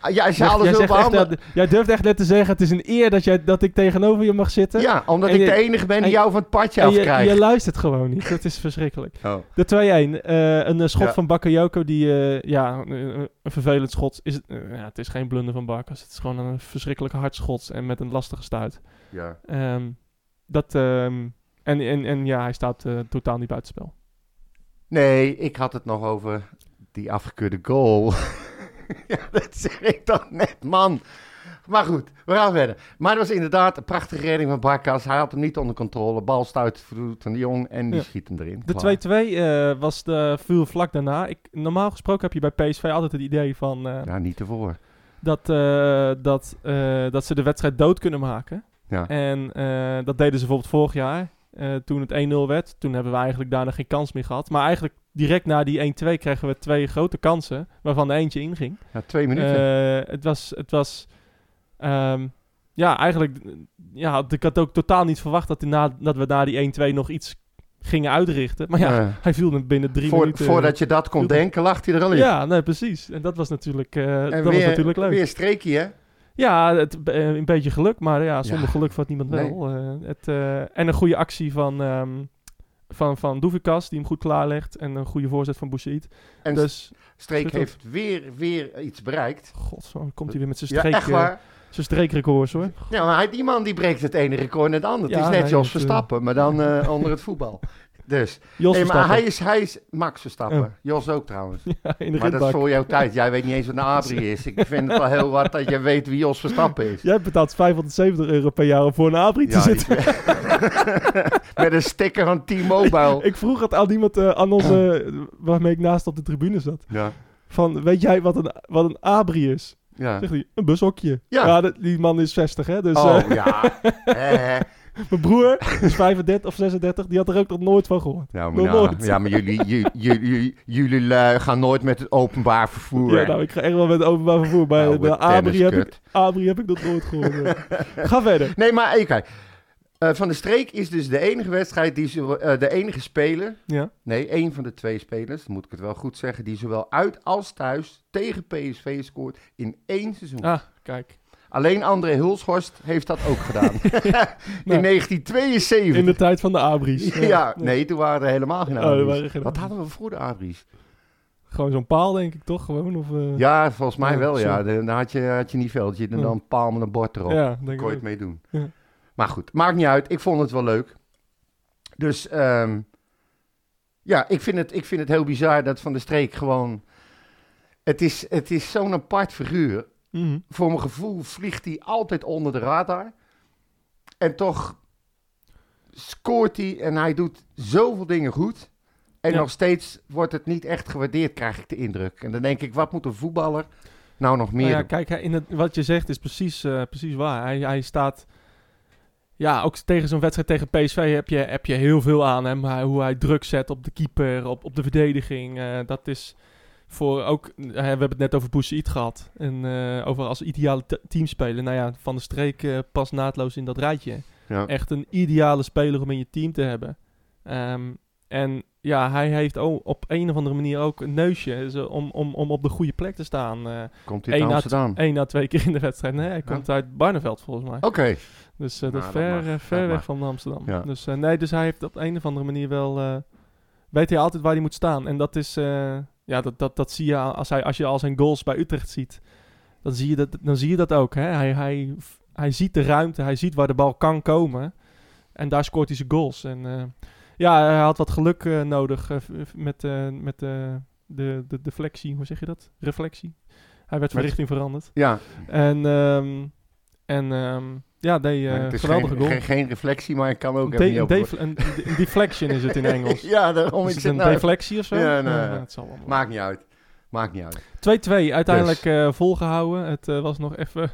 Ah, Ja, als je jij- alles jij, wil zegt echt, behandelen... dat- jij durft echt net te zeggen, het is een eer dat, jij, dat ik tegenover je mag zitten. Ja, omdat En ik je- de enige ben die en- jou van het padje en je, je afkrijgt. luistert gewoon niet. Dat is verschrikkelijk. Oh. De 2-1. eh, een eh, schot Ja. van Bakayoko, die, eh, ja, eh, een vervelend schot. Is, het- eh, ja, het is geen blunder van Barkas. Het is gewoon een verschrikkelijk hard schot en met een lastige stuit. Ja. Ehm, dat, ehm, en, en, en ja, hij staat eh, totaal niet buitenspel. Nee, ik had het nog over die afgekeurde goal. ja, dat zeg ik toch net, man. Maar goed, we gaan verder. Maar het was inderdaad een prachtige redding van Barkas. Hij had hem niet onder controle. Bal stuit voet van de jong en die Ja. schiet hem erin. De Klaar. 2-2 eh, was de, viel vlak daarna. Ik, normaal gesproken heb je bij PSV altijd het idee van, eh, Ja, niet ervoor. dat, eh, dat, eh, dat ze de wedstrijd dood kunnen maken. Ja. En eh, dat deden ze bijvoorbeeld vorig jaar. eh, toen het 1-0 werd, toen hebben we eigenlijk daarna geen kans meer gehad. Maar eigenlijk direct na die 1-2 kregen we twee grote kansen, waarvan de eentje inging. Ja, twee minuten. Eh, het was, het was ehm, ja, eigenlijk, ja, had- ik had ook totaal niet verwacht dat, die na, dat we na die 1-2 nog iets gingen uitrichten. Maar ja, Eh, hij viel er binnen drie voor- minuten. eh, voordat je dat kon Doe- denken, lag hij er al in. Ja, nee, precies. En dat was natuurlijk, eh, En dat weer, was natuurlijk leuk. Weer streekje, hè? Ja, het, eh, een beetje geluk, maar ja, zonder Ja. geluk vat niemand Nee. wel. Eh, het, eh, en een goede actie van, ehm van, van Doevikas, die hem goed klaarlegt. En een goede voorzet van Bouchaid. En Dus, Streek Goed. heeft weer, weer iets bereikt. godsam, komt hij weer met zijn Ja, streek, echt eh, waar. zijn streekrecords hoor. Ja, maar hij- die man die breekt het ene record en het andere. Ja, het is net nee, Jos dat, eh, Verstappen, maar dan eh, onder het voetbal. Dus, Jos nee, maar Verstappen. hij is, hij is Max Verstappen. Jos ook trouwens. Ja, in de Maar dat is ritbak. voor jouw tijd. Jij weet niet eens wat een Abri is. Ik vind het wel heel wat dat je weet wie Jos Verstappen is. Jij betaalt 570 euro per jaar om voor een abri te Ja, zitten. ik- met een sticker van T-Mobile. Ik vroeg het aan iemand eh, aan onze, waarmee ik naast op de tribune zat. Ja, Van, weet jij wat een, wat een abri is? ja. Zegt hij, een bushokje. Ja. dat- die man is 60, hè? Dus eh, Oh ja. Eh, mijn broer is 35 of 36, die had er ook nog nooit van gehoord. nou, Nog maar nou, nooit. ja, maar jullie, jullie, jullie, jullie lui gaan nooit met het openbaar vervoer. Ja, nou, ik ga echt wel met openbaar vervoer. Maar Oude bij abri heb, ik, tenniskut. abri heb ik dat nooit gehoord. eh. Ga verder. Nee, maar even kijken. Eh, van de Streek is dus de enige wedstrijd die ze, eh, de enige speler. Ja. Nee, één van de twee spelers, moet ik het wel goed zeggen, die zowel uit als thuis tegen PSV scoort in één seizoen. Ah, kijk. Alleen André Hulshorst heeft dat ook gedaan. in Nou. 1972. In de tijd van de abris. Ja, nee, toen waren er helemaal geen Oh, er Adries. waren geen Wat Adries. hadden we voor de Adries? Gewoon zo'n paal, denk ik, toch? Gewoon, of... eh, Ja, volgens mij Ja, wel, ja. zo. Dan dan had je, had je niet veel. Je dan Ja. een paal met een bord erop. ja, denk ik Kon je het ook. mee doen. Ja. Maar goed, maakt niet uit. Ik vond het wel leuk. Dus ehm, ja, ik vind, het, ik vind het heel bizar dat Van de Streek gewoon... Het is, het is zo'n apart figuur. Mhm. Voor mijn gevoel vliegt hij altijd onder de radar. En toch scoort hij en hij doet zoveel dingen goed. En Ja. nog steeds wordt het niet echt gewaardeerd, krijg ik de indruk. En dan denk ik, wat moet een voetballer nou nog meer Nou ja, doen? kijk, hij- in het, wat je zegt is precies, eh, precies waar. Hij, hij staat... Ja, ook tegen zo'n wedstrijd tegen PSV heb je, heb je heel veel aan hem. Hij- hoe hij druk zet op de keeper, op, op de verdediging. eh, dat is voor ook... eh, we hebben het net over Boussaïd gehad. En eh, over als ideale te- teamspeler. Nou ja, Van der Streek eh, past naadloos in dat rijtje Ja. echt een ideale speler om in je team te hebben. Ehm, en ja, hij heeft ook op een of andere manier ook een neusje zo om, om, om op de goede plek te staan. eh Komt hij één uit na- Amsterdam? Eén na twee keer in de wedstrijd. Nee, hij Ja. komt uit Barneveld volgens mij. Oké, Dus eh, dat is Nou, dat ver, mag. eh, ver Dat weg mag. van Amsterdam. Ja. Dus, eh, nee, dus hij heeft op een of andere manier wel... eh, weet hij altijd waar hij moet staan. En dat is... eh, ja, dat, dat, dat zie je als, hij, als je al zijn goals bij Utrecht ziet. Dan zie je dat, dan zie je dat ook. Hè? Hij, hij, hij ziet de ruimte. Hij ziet waar de bal kan komen. En daar scoort hij zijn goals. En eh, ja, hij had wat geluk eh, nodig eh, v- v- met, eh, met eh, de, de deflectie. Hoe zeg je dat? Reflectie. Hij werd van Met- richting veranderd. ja. En, ehm, en ehm, ja, die Maar eh het is geweldige geen, goal. geen, geen reflectie, maar ik kan ook Een even de- niet een, defle- over- een, de- een deflection is het in Engels. Ja, daarom Is ik het zit een nou... deflectie of zo? Ja, nou, Eh, ja. het zal wel. Maakt niet uit. Maakt niet uit. 2-2, uiteindelijk eh, volgehouden. Het eh, was nog even...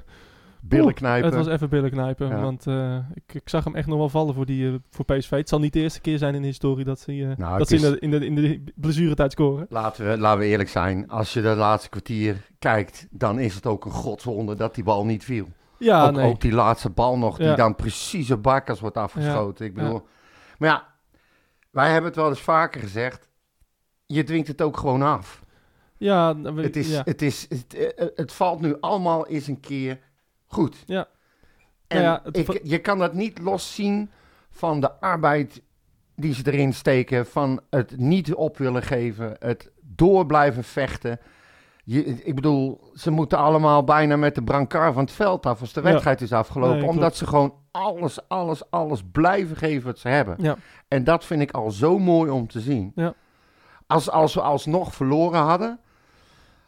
Billen Oeh, Het knijpen. was even billen knijpen. Ja. Want eh, ik, ik zag hem echt nog wel vallen voor, die, eh, voor PSV. Het zal niet de eerste keer zijn in de historie dat ze, eh, dat Nou, het ze in, is- de, in, de, in de blessuretijd scoren. Laten we, laten we eerlijk zijn, als je dat laatste kwartier kijkt, dan is het ook een godswonder dat die bal niet viel. Ja, ook, Ah, nee. ook die laatste bal nog, die Ja. dan precies op Barkas wordt afgeschoten. Ik bedoel, Ja. maar ja, wij hebben het wel eens vaker gezegd, je dwingt het ook gewoon af. ja, nou, we- Het, is, ja. het, is, het, eh, het valt nu allemaal eens een keer goed. Ja. Nou En ja, het ik- va- je kan dat niet loszien van de arbeid die ze erin steken, van het niet op willen geven, het door blijven vechten. Je, ik bedoel, ze moeten allemaal bijna met de brancard van het veld af als de Ja. wedstrijd is afgelopen, Nee, omdat klopt. ze gewoon alles, alles, alles blijven geven wat ze hebben. Ja. En dat vind ik al zo mooi om te zien. Ja. Als, als we alsnog verloren hadden,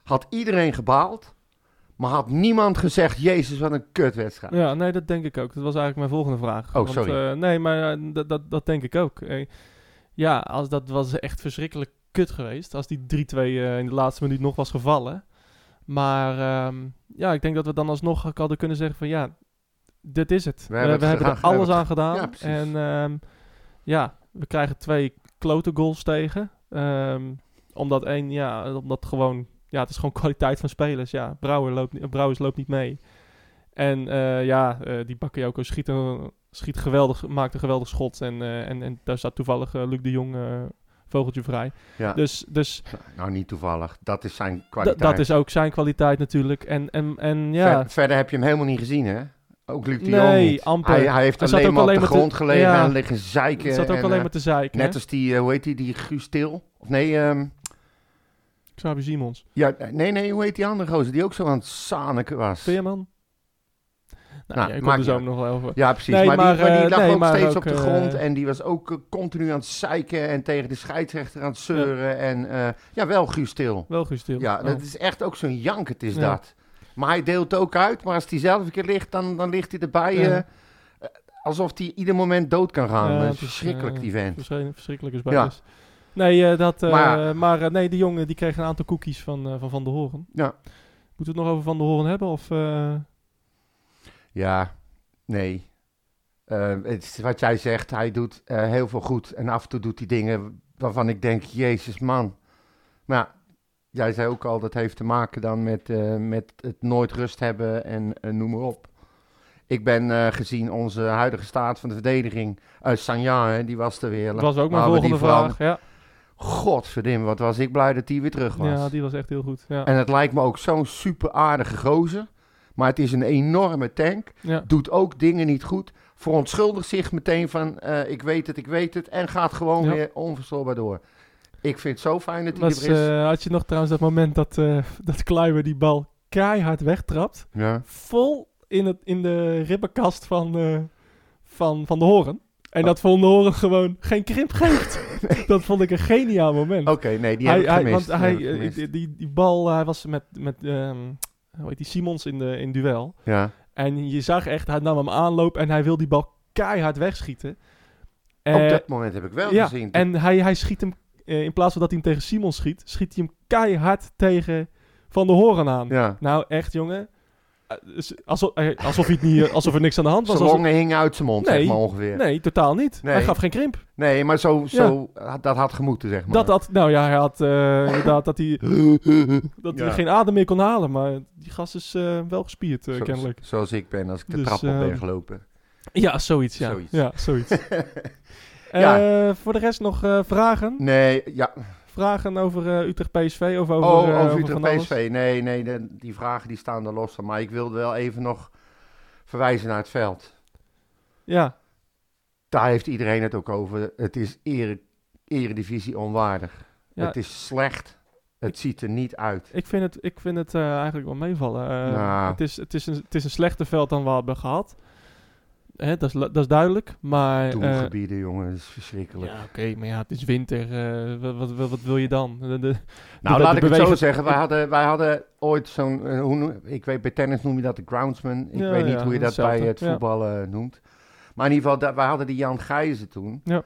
had iedereen gebaald. Maar had niemand gezegd, Jezus, wat een kutwedstrijd. Ja, nee, dat denk ik ook. Dat was eigenlijk mijn volgende vraag. Want, Oh, sorry. eh, nee, maar eh, dat, dat, dat denk ik ook. Eh, ja, als dat was echt verschrikkelijk kut geweest. Als die 3-2 eh, in de laatste minuut nog was gevallen. Maar ehm, ja, ik denk dat we dan alsnog ook hadden kunnen zeggen van ja, dit is het. We hebben het er gedaan, we alles hebben aan gedaan. Ja, precies. en ehm, ja, we krijgen twee klote goals tegen. Ehm, omdat één, ja, omdat gewoon, ja, het is gewoon kwaliteit van spelers. Ja, Brouwer loopt, ni- Brouwers loopt niet mee. En eh, ja, eh, die Bakayoko schiet, een- schiet geweldig, maakt een geweldig schot. En, eh, en, en daar staat toevallig eh, Luc de Jong eh, vogeltje vrij. Ja. Dus, dus Nou, niet toevallig. Dat is zijn da- kwaliteit. dat is ook zijn kwaliteit natuurlijk. En, en, en ja, Ver- verder heb je hem helemaal niet gezien, hè? Ook Luc de Jong Nee, niet. amper. Hij, hij heeft Hij zat alleen ook maar op alleen de maar te- grond gelegen ja. en liggen zeiken. het zat ook en, alleen eh, maar te zeiken. Net hè? als die, eh, hoe heet die, die Guus Til? Of nee, ehm, Xabi Simons. ja, nee, nee, hoe heet die andere gozer die ook zo aan het zaniken was? Veerman? Nou, Nou, ja, ik kom maakt er niet zo uit. nog wel over. Ja, precies. Nee, maar, maar, die, maar die eh, lag nee, ook maar steeds ook, op de eh, grond. En die was ook eh, continu aan het zeiken en tegen de scheidsrechter aan het zeuren. En eh, ja, wel Guus Til. Wel gestil. Ja, Oh. dat is echt ook zo'n jank, het is Ja. dat. Maar hij deelt ook uit. Maar als hij zelf een keer ligt, dan, dan ligt hij erbij. Ja. eh, eh, alsof hij ieder moment dood kan gaan. Ja, Eh, het is, verschrikkelijk, eh, die vent. Verschri- verschrikkelijk is Ja. bijna. Nee, eh, dat, eh, Maar- maar eh, nee, die jongen die kreeg een aantal cookies van eh, van, van der Horen. Ja. Moeten we het nog over Van der Horen hebben? Of, eh, Ja, nee. Eh, het is wat jij zegt, hij doet eh, heel veel goed. En af en toe doet hij dingen waarvan ik denk, jezus man. Maar ja, jij zei ook al, dat heeft te maken dan met, eh, met het nooit rust hebben en eh, noem maar op. Ik ben eh, gezien onze huidige staat van de verdediging, eh Sanja, hè, die was er weer. dat was ook mijn Laten we die volgende veranderen. vraag. Ja. Godverdomme, wat was ik blij dat hij weer terug was. ja, die was echt heel goed. Ja. En het lijkt me ook zo'n super aardige gozer. Maar het is een enorme tank ja. doet ook dingen niet goed. Verontschuldigt zich meteen van eh, ik weet het, ik weet het. En gaat gewoon Ja. weer onverstoorbaar door. Ik vind het zo fijn dat hij Was, er is. eh, had je nog trouwens dat moment dat, eh dat Kluiber die bal keihard wegtrapt? ja. Vol in, het, in de ribbenkast van, eh, van, van de Horen. En Oh. dat Van de Horen gewoon geen krimp geeft. Dat vond ik een geniaal moment. Oké, nee, Oh, die hij, heb ik hij- gemist. want Die hij, heb ik eh, gemist. die, die, die bal, eh, hij was met, met ehm, hoe heet die, Simons in, de, in duel. ja. En je zag echt, hij nam hem aanloop en hij wil die bal keihard wegschieten. Op Eh, dat moment heb ik wel ja, gezien. en hij, hij schiet hem, eh, in plaats van dat hij hem tegen Simons schiet, schiet hij hem keihard tegen Van der Horen aan. ja. Nou, echt jongen. Eh, dus Alsof, eh, alsof, hij het niet, alsof er niks aan de hand was. Zijn Alsof- longen hingen uit zijn mond, Nee. zeg maar ongeveer. Nee, nee, totaal niet. Nee. Hij gaf geen krimp. maar zo, zo had- dat had gemoeten, zeg maar. Dat had, nou ja, hij had eh, inderdaad dat hij dat hij Ja. geen adem meer kon halen. Maar die gast is eh, wel gespierd, eh, Zo- kennelijk. Zoals ik ben als ik de Dus, trap op eh, ben gelopen. Ja, zoiets. Ja, Zoiets. Ja, zoiets. Ja. Eh, voor de rest nog eh, vragen? Nee, ja. Vragen over eh, Utrecht PSV of over, oh, eh, over over Utrecht van alles? PSV. Nee, nee, de- die vragen die staan er los van. Maar ik wilde wel even nog verwijzen naar het veld. Ja, daar heeft iedereen het ook over. Het is ere, eredivisie onwaardig. Ja. Het is slecht. Het ziet er niet uit. ik vind het, ik vind het eh, eigenlijk wel meevallen. Eh, Nou. het, is, het, is een, het is een slechter veld dan we hebben gehad. Hè, dat, is, la- dat is duidelijk. Maar eh, Doelgebieden, jongen, dat is verschrikkelijk. ja, oké, maar ja, het is winter. eh, wat, wat, wat, wat wil je dan? De- de- Nou, de- laat de ik het zo bewegen- zeggen. Wij hadden, wij hadden ooit zo'n, eh, hoe noem- ik weet, bij tennis noem je dat de groundsman. Ik Ja, weet niet ja, hoe je dat hetzelfde. bij het Ja. voetballen eh, noemt. Maar in ieder geval, dat, wij hadden die Jan Gijzen toen. Ja.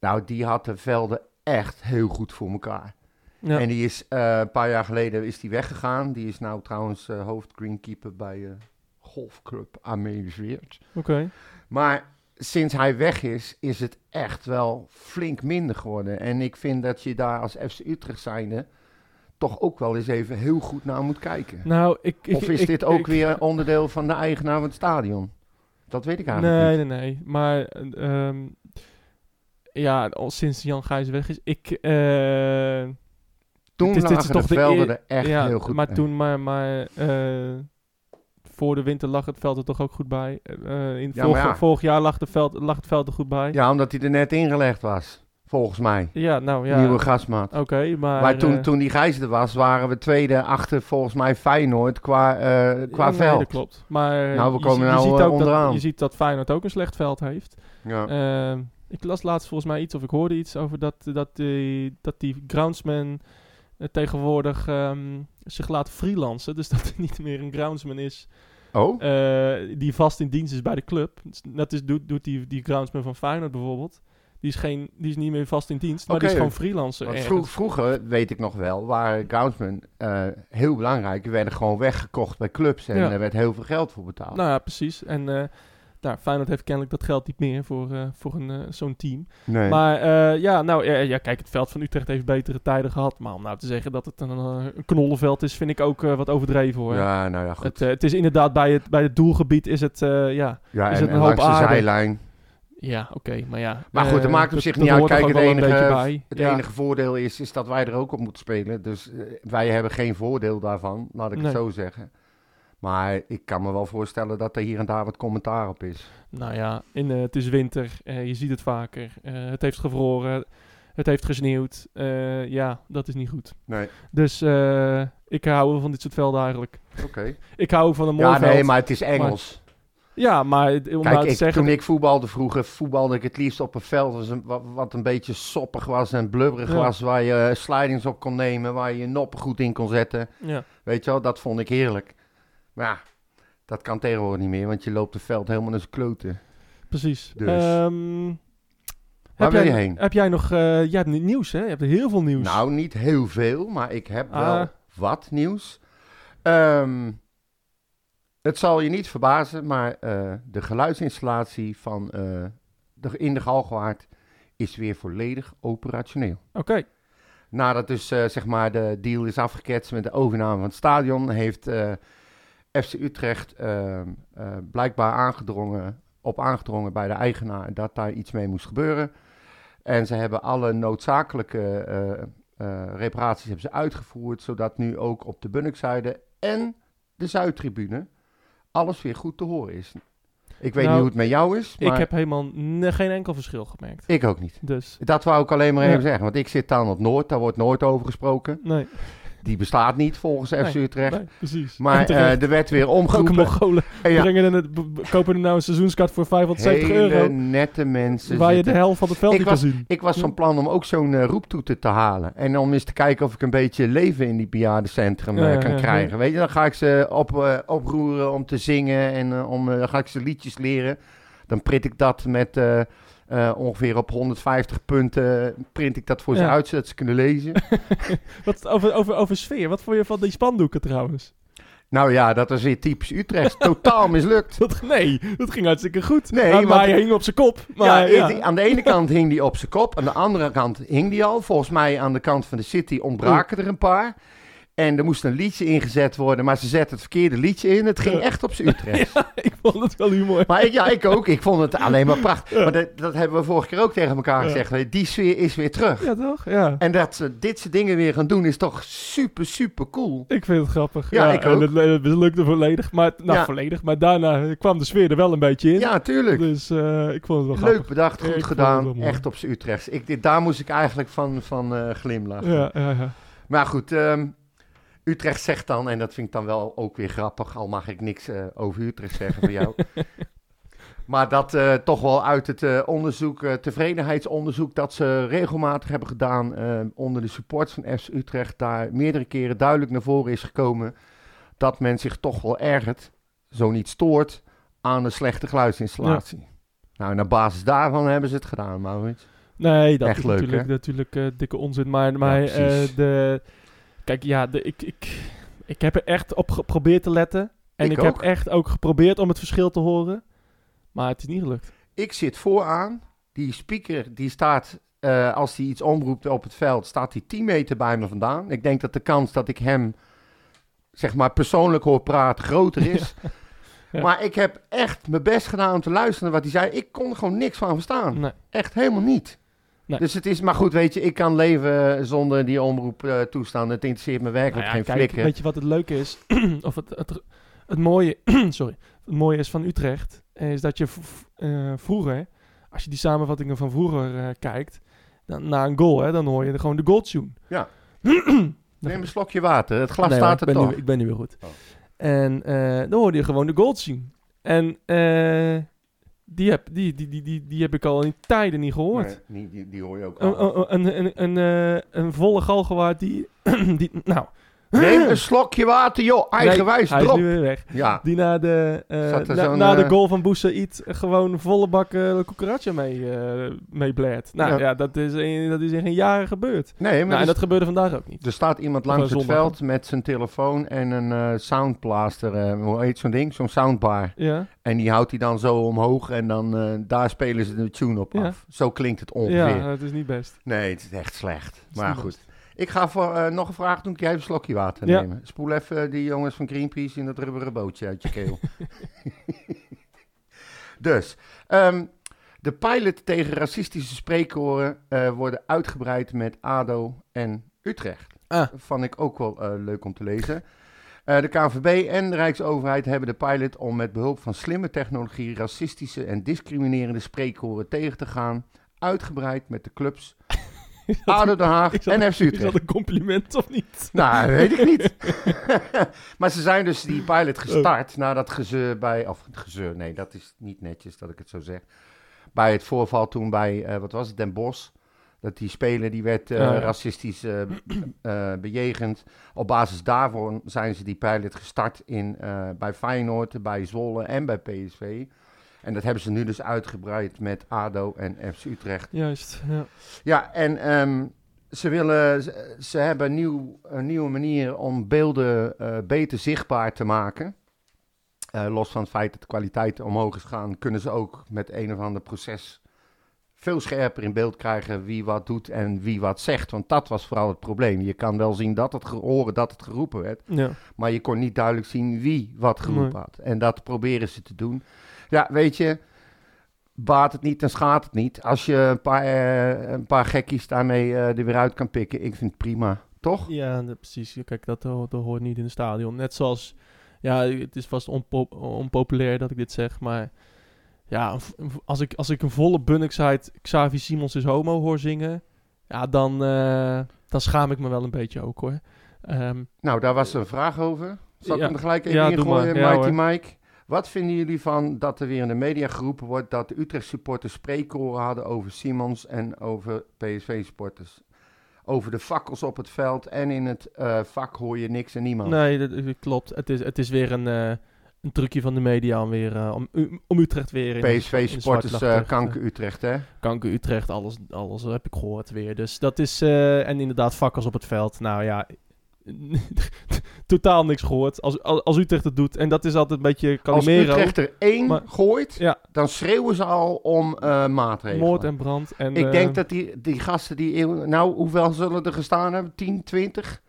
Nou, die had de velden echt heel goed voor elkaar. ja. En die is eh, een paar jaar geleden is die weggegaan. Die is nou trouwens eh, hoofdgreenkeeper bij eh, golfclub Amelisweert. Oké. Maar sinds hij weg is, is het echt wel flink minder geworden. En ik vind dat je daar als FC Utrecht zijnde toch ook wel eens even heel goed naar moet kijken. Nou, ik, ik, of is ik- dit ook ik- weer onderdeel van de eigenaar van het stadion? Dat weet ik eigenlijk Nee, niet. nee, nee. Maar eh, ehm, ja, al sinds Jan Gijs weg is, ik. eh, Toen dit is lagen toch de de velden eer- er echt ja, heel goed maar bij. toen, maar, maar eh, voor de winter lag het veld er toch ook goed bij. Eh, in Ja, vorig, maar ja. vorig jaar lag, de veld, lag het veld er goed bij. Ja, Ja, omdat hij er net ingelegd was, volgens mij. nou ja. Nieuwe Oké, gasmaat. maar. Maar toen, eh, toen die Gijs er was, waren we tweede achter volgens mij Feyenoord qua, eh, qua nee, veld. dat klopt. Maar eh, Nou, we je komen zie- je, nou, ziet eh, ook onderaan. Dat, je ziet dat Feyenoord ook een slecht veld heeft. Ja. Ehm, ik las laatst volgens mij iets, of ik hoorde iets over dat, eh, dat, die, dat die groundsman eh, tegenwoordig ehm, zich laat freelancen. Dus dat er niet meer een groundsman is oh, eh, die vast in dienst is bij de club. Dus Dat is, doet, doet die, die groundsman van Feyenoord bijvoorbeeld. Die is, geen, die is niet meer vast in dienst, maar die is Oké. gewoon freelancer. want ergens. vro- vroeger, weet ik nog wel, waren groundsmen eh, heel belangrijk. Die werden gewoon weggekocht bij clubs en Ja. er werd heel veel geld voor betaald. Nou ja, precies. En eh, nou, Feyenoord heeft kennelijk dat geld niet meer voor, eh, voor een, eh, zo'n team. nee. Maar eh, ja, nou ja, ja, kijk, het veld van Utrecht heeft betere tijden gehad. Maar om nou te zeggen dat het een, eh, een knollenveld is, vind ik ook eh, wat overdreven hoor. ja, nou ja, goed. het, eh, het is inderdaad bij het, bij het doelgebied is het, eh, ja, ja, is en, het en een hoop langs de aarde? zijlijn. Ja, oké, maar ja. Maar goed, eh, dat maakt op dat- zich dat niet uit. hoort er Kijk, het gewoon wel een enige, beetje bij. het Ja. enige voordeel is, is dat wij er ook op moeten spelen. Dus eh, wij hebben geen voordeel daarvan, laat ik het Nee. zo zeggen. Maar ik kan me wel voorstellen dat er hier en daar wat commentaar op is. Nou ja, in, eh, het is winter, eh, je ziet het vaker. eh, het heeft gevroren, het heeft gesneeuwd. eh, ja, dat is niet goed. Nee, Dus eh, ik hou wel van dit soort velden eigenlijk. oké. Ik hou ook van een mooi Ja, veld. nee, maar het is Engels. Ja, maar het- om nou Kijk, te ik, zeggen... toen ik voetbalde vroeger, voetbalde ik het liefst op een veld was een- wat, wat een beetje soppig was en blubberig Ja. was. Waar je eh, slidings op kon nemen, waar je je noppen goed in kon zetten. Ja, Weet je wel, dat vond ik heerlijk. Maar ja, dat kan tegenwoordig niet meer, want je loopt het veld helemaal naar zijn kloten. precies. Dus. Ehm, Waar heb jij- wil je heen? Heb jij nog... eh, jij hebt ni- nieuws, hè? Je hebt heel veel nieuws. Nou, niet heel veel, maar ik heb Ah. wel wat nieuws. Ehm, het zal je niet verbazen, maar eh, de geluidsinstallatie van, eh, de, in de Galgenwaard is weer volledig operationeel. Oké. Nadat dus eh, zeg maar de deal is afgeketst met de overname van het stadion, heeft eh, FC Utrecht ehm, eh, blijkbaar aangedrongen, op aangedrongen bij de eigenaar dat daar iets mee moest gebeuren. En ze hebben alle noodzakelijke eh, eh, reparaties hebben ze uitgevoerd, zodat nu ook op de Bunnikzijde en de Zuidtribune alles weer goed te horen is. Ik weet Nou, niet hoe het met jou is, maar Ik heb helemaal ne- geen enkel verschil gemerkt. ik ook niet. Dus, Dat wou ik alleen maar Ja. even zeggen, want ik zit dan op Noord, daar wordt nooit over gesproken. nee, Die bestaat niet volgens FC Nee, Utrecht. nee precies. En Maar terecht. eh, er werd weer Ook omgeroepen. Mongolen En ja, brengen en het, b- b- kopen er nou een seizoenskaart voor 570 hele euro. nette mensen. Waar je de zitten. helft van het veld Ik niet kan zien. Ik was van plan om ook zo'n eh, roeptoeter te halen. En om eens te kijken of ik een beetje leven in die bejaardencentrum eh, Ja, kan ja, ja. krijgen. Weet je, dan ga ik ze op, eh, oproeren om te zingen. En eh, om, eh, dan ga ik ze liedjes leren. Dan print ik dat met eh, eh, ongeveer op 150 punten. Print ik dat voor ze Ja. uit, zodat ze kunnen lezen. Wat, over, over, over sfeer, wat vond je van die spandoeken trouwens? nou ja, dat is weer typisch Utrecht. Totaal mislukt. Dat, nee, dat ging hartstikke goed. Nee, maar, maar want- hij hing op zijn kop. Maar, ja, ja, die- aan de ene kant hing die op zijn kop, aan de andere kant hing die al. Volgens mij aan de kant van de City ontbraken er een paar. En er moest een liedje ingezet worden, maar ze zetten het verkeerde liedje in. Het ging Ja. echt op zijn Utrecht. ik vond het wel humor. Maar ik, ja, ik ook. Ik vond het alleen maar prachtig. Maar dat, dat hebben we vorige keer ook tegen elkaar Ja. gezegd. Die sfeer is weer terug. Ja, toch? Ja. En dat ze dit soort dingen weer gaan doen is toch super, super cool. Ik vind het grappig. Ja, ik en ook. Het, het mislukte volledig. Maar, nou, Ja. volledig. Maar daarna kwam de sfeer er wel een beetje in. Ja, tuurlijk. Dus eh, ik vond het wel Leuk bedacht, Ik goed vond het wel gedaan. mooi. Echt op zijn Utrecht. Ik, dit, daar moest ik eigenlijk van, van eh, glimlachen. grappig. Ja, ja, ja. Maar goed, ehm, Utrecht zegt dan, en dat vind ik dan wel ook weer grappig, al mag ik niks eh, over Utrecht zeggen van jou. Maar dat eh, toch wel uit het eh, onderzoek, eh, tevredenheidsonderzoek dat ze regelmatig hebben gedaan eh, onder de supports van FC Utrecht, daar meerdere keren duidelijk naar voren is gekomen dat men zich toch wel ergert, zo niet stoort, aan de slechte geluidsinstallatie. Nou, en op basis daarvan hebben ze het gedaan, Maurits. Nee, dat Echt is leuk, natuurlijk, hè? natuurlijk eh, dikke onzin. Maar, maar Ja, precies. eh, de, kijk, ja, de, ik, ik, ik heb er echt op geprobeerd te letten. En Ik ik, heb ook. echt ook geprobeerd om het verschil te horen. Maar het is niet gelukt. Ik zit vooraan. Die speaker die staat, eh, als hij iets omroept op het veld, staat hij 10 meter bij me vandaan. Ik denk dat de kans dat ik hem, zeg maar, persoonlijk hoor praten groter is. Ja. Maar ik heb echt mijn best gedaan om te luisteren naar wat hij zei. Ik kon er gewoon niks van verstaan. Nee. Echt helemaal niet. Nee. Dus het is, maar goed, weet je, ik kan leven eh, zonder die omroep eh toestaan. Het interesseert me Nou werkelijk ja, geen kijk, flikker. Weet je wat het leuke is? of het, het, het, mooie, sorry, het mooie is van Utrecht, eh, is dat je v- v- eh, vroeger, als je die samenvattingen van vroeger eh, kijkt, dan, na een goal, hè, dan hoor je de- gewoon de goal tune. Ja. Dan- Neem een slokje water. Het glas Nee, hoor, staat er ik ben toch. Nu, ik ben nu weer goed. Oh. En eh, dan hoorde je gewoon de goals zien. En eh, die, heb, die, die, die, die, die heb ik al in tijden niet gehoord. Nee, Oh. die, die, die hoor je ook al. Een, een, een, een, een, eh, een volle galgenwaard die, die... Nou, Neem een slokje water, joh. Eigenwijs, hij is drop. nu weer weg. Ja. Die na de, eh, Zat er na, zo'n, na de eh, goal van Boussaïd gewoon volle bak eh cucaracha mee, eh mee blert. Nou Ja. ja, dat, is in, dat is in geen jaren gebeurd. Nee, maar dus- Nou, en er, dat gebeurde vandaag ook niet. er staat Of iemand langs een het zondag, veld met zijn telefoon en een eh, soundblaster. eh, hoe heet zo'n ding? Zo'n soundbar. Ja, En die houdt hij dan zo omhoog en dan eh, daar spelen ze de tune op Ja. af. Zo klinkt het ongeveer. ja het is niet best. Nee, het is echt slecht. is maar niet goed. Ik ga voor, eh, nog een vraag doen. Kun jij even een slokje water Ja. nemen? Spoel even eh, die jongens van Greenpeace in dat rubberen bootje uit je keel. dus, ehm, De pilot tegen racistische spreekkoren eh, worden uitgebreid met ADO en Utrecht. Ah. Dat vond ik ook wel eh, leuk om te lezen. Eh, de KNVB en de Rijksoverheid hebben de pilot om met behulp van slimme technologie racistische en discriminerende spreekkoren tegen te gaan. Uitgebreid met de clubs ADO Den Haag is dat- en Is FC Utrecht. dat een compliment of niet? Nou, weet ik niet. maar ze zijn dus die pilot Oh. gestart na dat gezeur bij... Of gezeur, nee, dat is niet netjes dat ik het zo zeg. Bij het voorval toen bij, eh, wat was het, Den Bosch. Dat die speler die werd eh, Ja, ja. racistisch eh, eh, bejegend. Op basis daarvan zijn ze die pilot gestart in, eh, bij Feyenoord, bij Zwolle en bij PSV. En dat hebben ze nu dus uitgebreid met ADO en FC Utrecht. Juist, ja. Ja, en ehm, ze, willen, ze, ze hebben een, nieuw, een nieuwe manier om beelden eh, beter zichtbaar te maken. Eh, los van het feit dat de kwaliteit omhoog is gegaan, kunnen ze ook met een of ander proces veel scherper in beeld krijgen wie wat doet en wie wat zegt. Want dat was vooral het probleem. Je kan wel zien dat het ge- horen dat het geroepen werd, ja. maar je kon niet duidelijk zien wie wat geroepen Nee. had. En dat proberen ze te doen. Ja, weet je, baat het niet en schaadt het niet. Als je een paar, eh, een paar gekkies daarmee eh, er weer uit kan pikken, ik vind het prima. Toch? Ja, de- precies. Kijk, dat, ho- dat hoort niet in het stadion. Net zoals, ja, het is vast onpo- onpopulair dat ik dit zeg, maar ja, een v- een v- als ik, als ik een volle bunniksheid Xavi Simons is homo hoor zingen, ja, dan, eh, dan schaam ik me wel een beetje ook hoor. Ehm, Nou, daar was een vraag over. Zal ik Ja. hem er gelijk even Ja, doe ingooien, maar. Ja, Mighty hoor. Mike? Wat vinden jullie van dat er weer in de media geroepen wordt dat de Utrecht supporters spreekkoren hadden over Simons en over PSV supporters? Over de fakkels op het veld en in het eh, vak hoor je niks en niemand. nee, dat, dat klopt. Het is, het is weer een, eh, een trucje van de media om, weer, eh, om, U- om Utrecht weer in de- in PSV de supporters zwartlag eh, terecht, kanker Utrecht, hè? Kanker Utrecht, alles, alles heb ik gehoord weer. Dus dat is... eh, en inderdaad, vakkers op het veld. Nou ja, totaal niks gehoord. Als, als, als Utrecht het doet. En dat is altijd een beetje Als Calimero. Utrecht er één Maar- gooit, Ja. dan schreeuwen ze al om eh, maatregelen. Moord en brand. En, Ik eh, denk dat die, die gasten die... eeuwen- Nou, hoeveel zullen er gestaan hebben? 10, 20,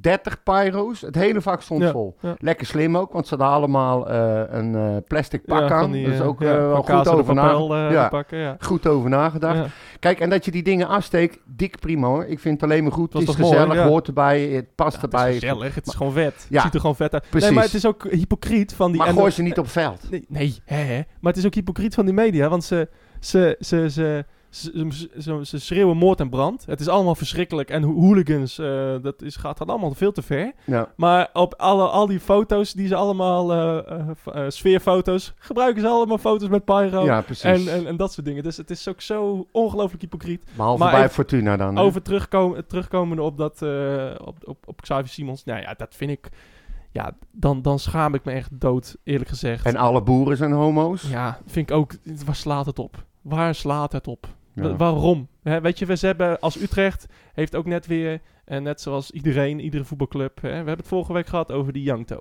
30 pyro's? Het hele vak stond Ja, vol. ja. Lekker slim ook, want ze hadden allemaal eh, een eh, plastic ja, pak van aan. die, dus eh, ook ja, eh, wel van goed Kaas en de over, na, Papel, eh, Ja. te pakken, ja. goed over nagedacht. Ja. Kijk, en dat je die dingen afsteekt, dik prima hoor. Ik vind het alleen maar goed. Was Het is toch mooi, gezellig, ja. hoort erbij, het past Het is erbij. gezellig, het is gewoon vet. Ja, het ziet er gewoon vet uit. Nee, precies. maar het is ook hypocriet van die... Maar en- gooi ze niet op veld. Nee, nee hè, hè. maar het is ook hypocriet van die media, want ze, ze, ze, ze, ze, ze, ze- ze schreeuwen moord en brand. Het is allemaal verschrikkelijk en ho- hooligans, eh, dat is, gaat dan allemaal veel te ver. Ja. Maar op alle, al die foto's die ze allemaal, eh, eh, f- eh, sfeerfoto's, gebruiken ze allemaal foto's met pyro Ja, precies. en, en, en dat soort dingen. Dus het is ook zo ongelooflijk hypocriet. Behalve Maar bij even- Fortuna dan. hè? Over terugkomen, terugkomende op dat, eh, op, op, op Xavi Simons, nou ja, dat vind ik, ja, dan, dan schaam ik me echt dood, eerlijk gezegd. En alle boeren zijn homo's. Ja, vind ik ook. Waar slaat het op? Waar slaat het op? Ja. Wa- Waarom? Hè, weet je, we hebben als Utrecht heeft ook net weer, en net zoals iedereen, iedere voetbalclub, hè, we hebben het vorige week gehad over die Jankto.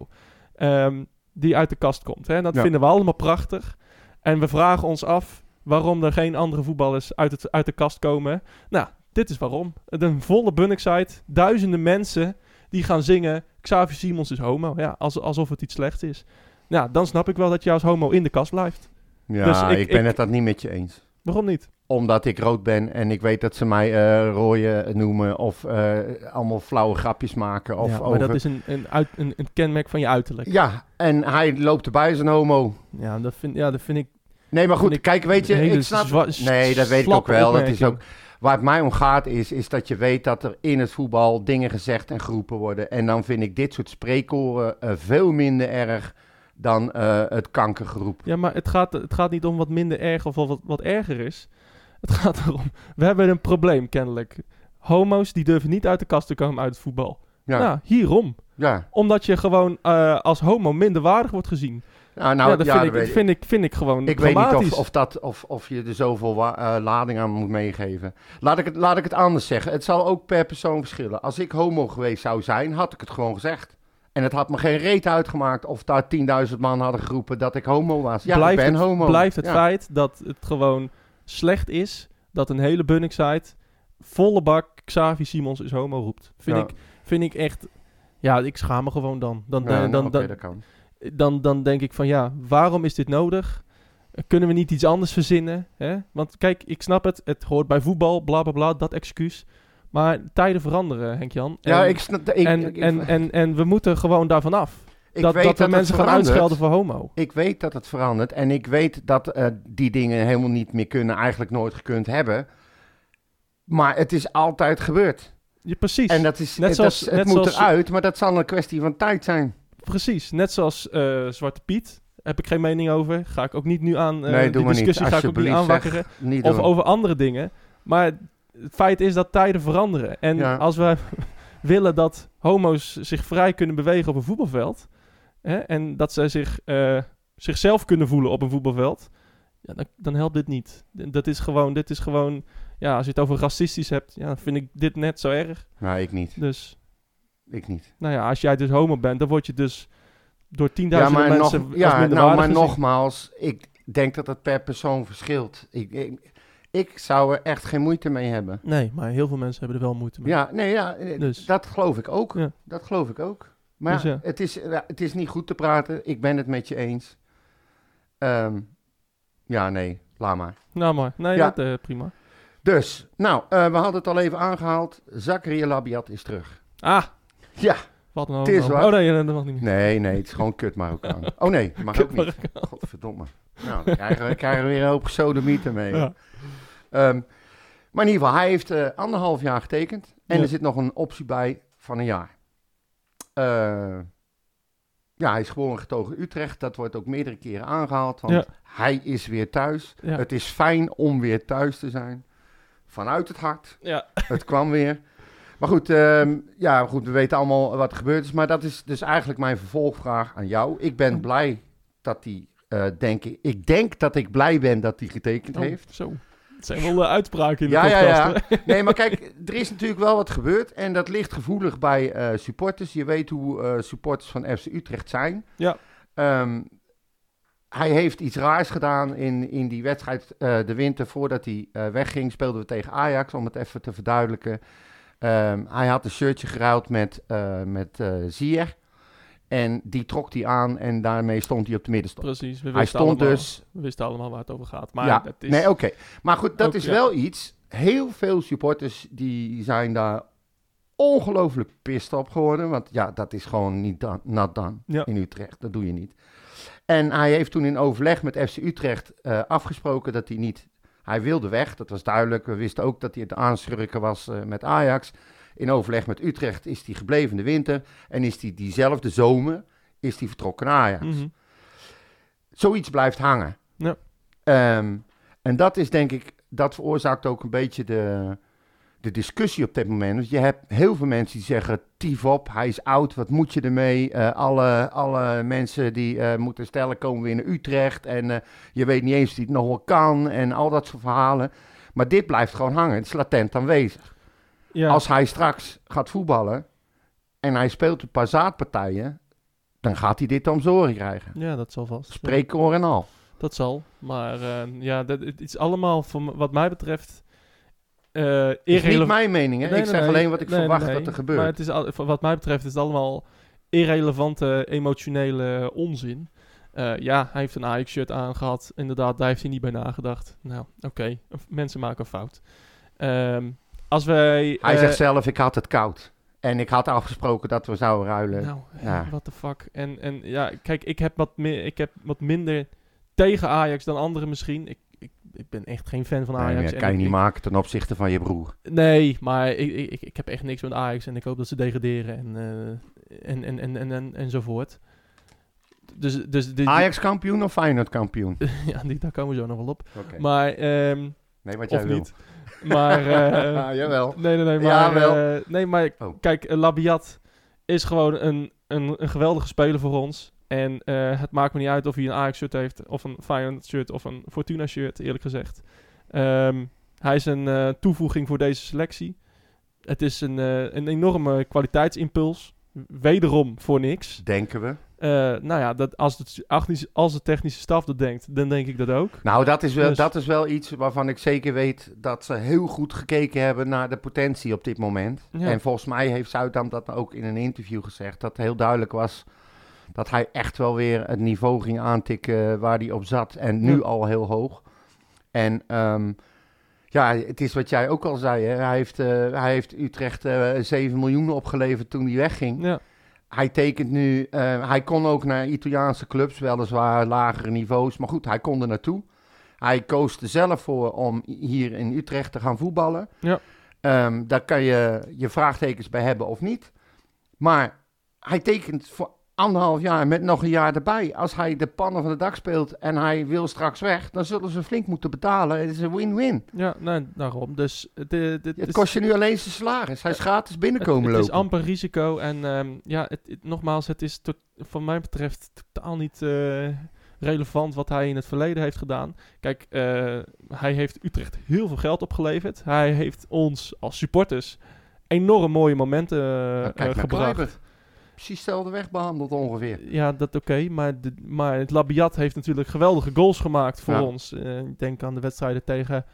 ehm, die uit de kast komt. Hè, en dat Ja. vinden we allemaal prachtig. En we vragen ons af waarom er geen andere voetballers uit, het, uit de kast komen. Nou, dit is waarom. Een volle bunnickside, duizenden mensen die gaan zingen. Xavier Simons is homo. Ja, als, alsof het iets slechts is. Nou, dan snap ik wel dat je als homo in de kast blijft. Ja, Dus ik- ik, ben ik- het dat niet met je eens. Waarom niet? Omdat ik rood ben en ik weet dat ze mij eh rooien noemen of eh, allemaal flauwe grapjes maken. Of ja, maar over... dat is een, een, uit, een, een kenmerk van je uiterlijk. Ja, en hij loopt erbij als een homo. Ja, dat vind, ja, dat vind ik... Nee, maar goed, Vind ik dus kijk, weet je, een hele ik snap... zwa- nee, dat weet ik ook slappe wel. Dat is opmerking. ook... Waar het mij om gaat is, is dat je weet dat er in het voetbal dingen gezegd en geroepen worden. En dan vind ik dit soort spreekkoren eh, veel minder erg dan eh, het kankergeroep. Ja, maar het gaat, het gaat niet om wat minder erg of wat, wat erger is. Het gaat erom... We hebben een probleem, kennelijk. Homo's, die durven niet uit de kast te komen uit het voetbal. Ja, Nou, hierom. ja. Omdat je gewoon eh, als homo minderwaardig wordt gezien. Nou, nou, ja, dat ja, vind, dat ik, weet ik. vind, ik, vind ik gewoon Ik weet niet of, dramatisch. of, dat, of, of je er zoveel wa- eh, lading aan moet meegeven. Laat ik, het, laat ik het anders zeggen. Het zal ook per persoon verschillen. Als ik homo geweest zou zijn, had ik het gewoon gezegd. En het had me geen reet uitgemaakt of daar 10.000 man hadden geroepen dat ik homo was. Ja, blijft ik ben het, homo. Blijft het Ja. feit dat het gewoon slecht is dat een hele Bunningside volle bak Xavi Simons is homo roept. Vind, Ja. ik, vind ik echt... Ja, ik schaam me gewoon dan. Dan, Ja, dan, nou, dan, oké, dan, dat kan. dan, dan denk ik van ja, waarom is dit nodig? Kunnen we niet iets anders verzinnen? Hè? Want kijk, ik snap het. Het hoort bij voetbal, bla bla bla, dat excuus. Maar tijden veranderen, Henk-Jan. Ja, En- ik snap... Ik, en, ik- ik- en, en, en we moeten gewoon daarvan af. ik dat, weet dat we het mensen gaan verandert. uitschelden voor homo. Ik weet dat het verandert en ik weet dat eh, die dingen helemaal niet meer kunnen, eigenlijk nooit gekund hebben. Maar het is altijd gebeurd. Ja, precies. En dat is, Net het- zoals- dat, het net moet zoals- eruit, maar dat zal een kwestie van tijd zijn. Precies. Net zoals eh, Zwarte Piet. Heb ik geen mening over. Ga ik ook niet nu aan. eh, Nee, doe die maar niet. discussie ga ik ook niet Alsjeblieft, zeg. aanwakkeren. Niet of doen. over andere dingen. Maar het feit is dat tijden veranderen. En Ja. als we willen dat homo's zich vrij kunnen bewegen op een voetbalveld. Hè, en dat zij zich, eh, zichzelf kunnen voelen op een voetbalveld. Ja, dan, dan helpt dit niet. D- Dat is gewoon, dit is gewoon. Ja, als je het over racistisch hebt, ja, dan vind ik dit net zo erg. Nou, ik niet. Dus, Ik niet. nou ja, als jij dus homo bent, dan word je dus door Ja, tienduizenden maar, nog, mensen als ja, nou, minderwaardig maar gezien. nogmaals, ik denk dat het per persoon verschilt. Ik, ik, ik zou er echt geen moeite mee hebben. Nee, maar heel veel mensen hebben er wel moeite mee. Ja, nee, ja, eh, Dus. dat geloof ik ook. Ja. Dat geloof ik ook. Maar Dus ja, ja. Het, is, eh, het is niet goed te praten. Ik ben het met je eens. Ehm, ja, nee, laat maar. Nou maar, nee, Ja. dat, eh, prima. Dus, nou, eh, we hadden het al even aangehaald. Zakaria Labiat is terug. Ah. Ja. Wat nou? Het is waar. Oh nee, dat mag niet meer. Nee, nee, het is gewoon kut Marokkaan. Oh nee, mag ook niet. Godverdomme. Nou, dan krijgen we, krijgen we weer een hoop gesodemieten mee. Ja. Ehm, maar in ieder geval, hij heeft eh, anderhalf jaar getekend. En Ja. er zit nog een optie bij van een jaar. Eh, ja, hij is geboren en getogen in Utrecht. Dat wordt ook meerdere keren aangehaald. Want Ja. hij is weer thuis. Ja. Het is fijn om weer thuis te zijn. Vanuit het hart. Ja. Het kwam weer. Maar goed, ehm, ja, goed, we weten allemaal wat er gebeurd is. Maar dat is dus eigenlijk mijn vervolgvraag aan jou. Ik ben blij dat hij, eh denk ik, ik denk dat ik blij ben dat hij getekend Oh, heeft. Zo. Het zijn wel eh, uitspraken in de Ja, ja, podcast. ja. hè? Nee, maar kijk, er is natuurlijk wel wat gebeurd. En dat ligt gevoelig bij eh, supporters. Je weet hoe eh, supporters van FC Utrecht zijn. Ja. Ehm, hij heeft iets raars gedaan in, in die wedstrijd eh, de winter voordat hij eh, wegging. Speelden we tegen Ajax, om het even te verduidelijken. Ehm, hij had een shirtje geruild met, eh met eh, Zier. En die trok hij aan en daarmee stond hij op de middenstop. Precies. We Hij wisten stond allemaal, dus We wisten allemaal waar het over gaat. Maar ja, dat is... nee, oké. Maar goed, dat Ook, is ja. wel iets. Heel veel supporters die zijn daar ongelooflijk pist op geworden. Want ja, dat is gewoon niet dan, not done Ja. in Utrecht. Dat doe je niet. En hij heeft toen in overleg met FC Utrecht eh, afgesproken dat hij niet... Hij wilde weg, dat was duidelijk. We wisten ook dat hij het aanschurken was eh, met Ajax. In overleg met Utrecht is hij gebleven de winter. En is hij diezelfde zomer is hij vertrokken naar Ajax Mhm. zoiets blijft hangen. Ja. Ehm, en dat is denk ik, dat veroorzaakt ook een beetje de, de discussie op dit moment. Want je hebt heel veel mensen die zeggen, tief op, hij is oud, wat moet je ermee? Eh, alle, alle mensen die eh, moeten stellen komen weer naar Utrecht en eh, je weet niet eens of hij het nog wel kan en al dat soort verhalen. Maar dit blijft gewoon hangen, het is latent aanwezig. Ja. Als hij straks gaat voetballen en hij speelt een paar zaadpartijen, dan gaat hij dit om zoren krijgen. ja, dat zal vast. Spreekoor en al. Ja, dat zal. Maar eh, ja, dat, het is allemaal voor m- wat mij betreft... eh is niet irrelevant. mijn mening, hè? Nee, ik nee, zeg nee. alleen wat ik Nee, verwacht nee, nee. dat er gebeurt. Maar het is al, voor wat mij betreft is het allemaal irrelevante, emotionele onzin. Eh, ja, hij heeft een Ajax-shirt aangehad. Inderdaad, daar heeft hij niet bij nagedacht. Nou, oké. Mensen maken een fout. Ehm, als wij... Hij eh, zegt zelf, ik had het koud. En ik had afgesproken dat we zouden ruilen. Nou, Ja. what the fuck. En, en ja, kijk, ik heb, wat meer, ik heb wat minder tegen Ajax dan anderen misschien. Ik, ik, ik ben echt geen fan van Nee, maar Ajax. dat en kan je ik- niet ik- maken ten opzichte van je broer. Nee, maar ik, ik, ik- ik heb echt niks met Ajax en ik hoop dat ze degraderen en, eh, en, en, en, en, en, enzovoort. Dus, dus die- die- Ajax kampioen of Feyenoord kampioen? ja, die, daar komen we zo nog wel op. Oké. Maar, ehm, Nee, of wat jij wil. niet. Maar, eh, Ah, jawel. Nee, nee, nee. Maar, Jawel. eh, nee, maar Oh. kijk, eh, Labiat is gewoon een, een, een geweldige speler voor ons. En eh, het maakt me niet uit of hij een Ajax-shirt heeft, of een Feyenoord-shirt, of een Fortuna-shirt, eerlijk gezegd. Ehm, hij is een eh, toevoeging voor deze selectie. Het is een, eh, een enorme kwaliteitsimpuls. Wederom voor niks. Denken we. Eh, nou ja, dat, als, het, als de technische staf dat denkt, dan denk ik dat ook. Nou, dat is, wel, Dus- dat is wel iets waarvan ik zeker weet dat ze heel goed gekeken hebben naar de potentie op dit moment. Ja. En volgens mij heeft Zuidam dat ook in een interview gezegd. Dat heel duidelijk was dat hij echt wel weer het niveau ging aantikken waar hij op zat. En nu Ja. al heel hoog. En ehm, ja, het is wat jij ook al zei. Hè? Hij, heeft, eh, hij heeft Utrecht eh 7 miljoen opgeleverd toen hij wegging. Ja, Hij tekent nu, eh, hij kon ook naar Italiaanse clubs, weliswaar lagere niveaus. Maar goed, hij kon er naartoe. Hij koos er zelf voor om hier in Utrecht te gaan voetballen. Ja. Ehm, daar kan je je vraagtekens bij hebben of niet. Maar hij tekent voor anderhalf jaar met nog een jaar erbij. Als hij de pannen van de dak speelt en hij wil straks weg, dan zullen ze flink moeten betalen. Het is een win-win. ja nee, daarom. Dus het, eh, dit Het is- kost je nu alleen zijn salaris. Hij is gratis het- binnenkomen Het is lopen. amper risico. En ehm, ja, het, het- nogmaals, het is tot, van mij betreft totaal niet eh, relevant wat hij in het verleden heeft gedaan. Kijk, eh, hij heeft Utrecht heel veel geld opgeleverd. Hij heeft ons als supporters enorm mooie momenten eh, Nou, eh, kijk naar gebracht. Kluivert. Precies dezelfde weg behandeld ongeveer. Ja, dat oké. maar, de- maar het Labiat heeft natuurlijk geweldige goals gemaakt voor Ja. ons. Eh, ik denk aan de wedstrijden tegen,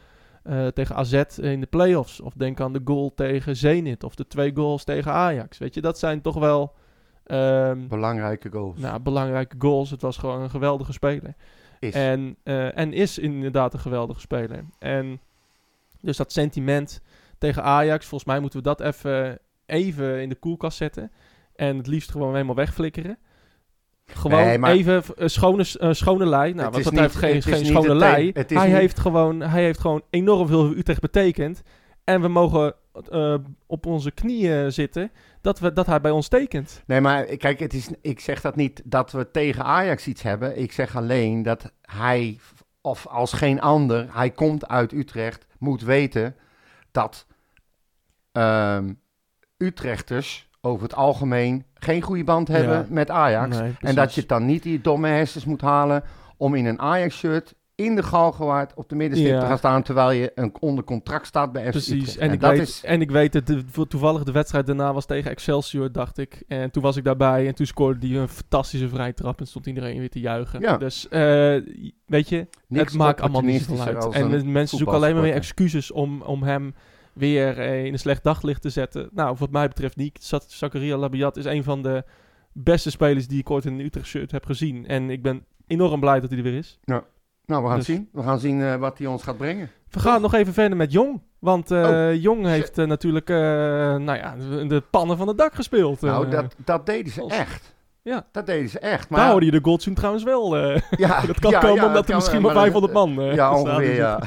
eh, tegen AZ in de play-offs. Of denk aan de goal tegen Zenit. Of de twee goals tegen Ajax. Weet je, dat zijn toch wel ehm, Belangrijke goals. nou, belangrijke goals. Het was gewoon een geweldige speler. is. En, eh, en is inderdaad een geweldige speler. En dus dat sentiment tegen Ajax, volgens mij moeten we dat even, even in de koelkast zetten. En het liefst gewoon helemaal wegflikkeren. Gewoon Nee, maar- even een schone, een schone lei. Nou, Het want is dat heeft niet- geen, het is geen niet schone het lei. thema- het is Hij, niet- heeft gewoon, hij heeft gewoon enorm veel voor Utrecht betekend. En we mogen eh, op onze knieën zitten dat, we, dat hij bij ons tekent. Nee, maar kijk, het is, ik zeg dat niet dat we tegen Ajax iets hebben. Ik zeg alleen dat hij, of als geen ander, hij komt uit Utrecht, moet weten dat ehm, Utrechters over het algemeen geen goede band hebben Ja. met Ajax. Nee, en precies. dat je het dan niet die domme hersens moet halen om in een Ajax-shirt in de Galgenwaard op de middenstip Ja. te gaan staan terwijl je een, onder contract staat bij FC Precies, Utrecht. en, ik dat weet, is... en ik weet dat de, voor- toevallig de wedstrijd daarna was tegen Excelsior, dacht ik. En toen was ik daarbij en toen scoorde hij een fantastische vrije trap en stond iedereen weer te juichen. Ja. Dus eh, weet je, niks het maakt allemaal niet zoveel opportunistischer uit. als En een de mensen zoeken alleen maar weer voetbalsporter. excuses om, om hem weer eh, in een slecht daglicht te zetten. Nou, wat mij betreft niet. Zat- Zakaria Labiat is een van de beste spelers die ik ooit in een Utrecht shirt heb gezien. En ik ben enorm blij dat hij er weer is. Nou, we gaan Dus- zien. We gaan zien eh, wat hij ons gaat brengen. We gaan nog even verder met Jong. Want eh, Oh. Jong heeft eh, natuurlijk eh, nou ja, de- de pannen van het dak gespeeld. nou, Eh, dat, dat deden ze als- echt. Ja. Dat deden ze echt. Daar Maar hoorde je de Goldzoen trouwens wel. eh. ja, dat kan ja, komen ja, omdat dat er kan, misschien maar maar 500 dat- man eh, Ja, zaten. ongeveer, ja.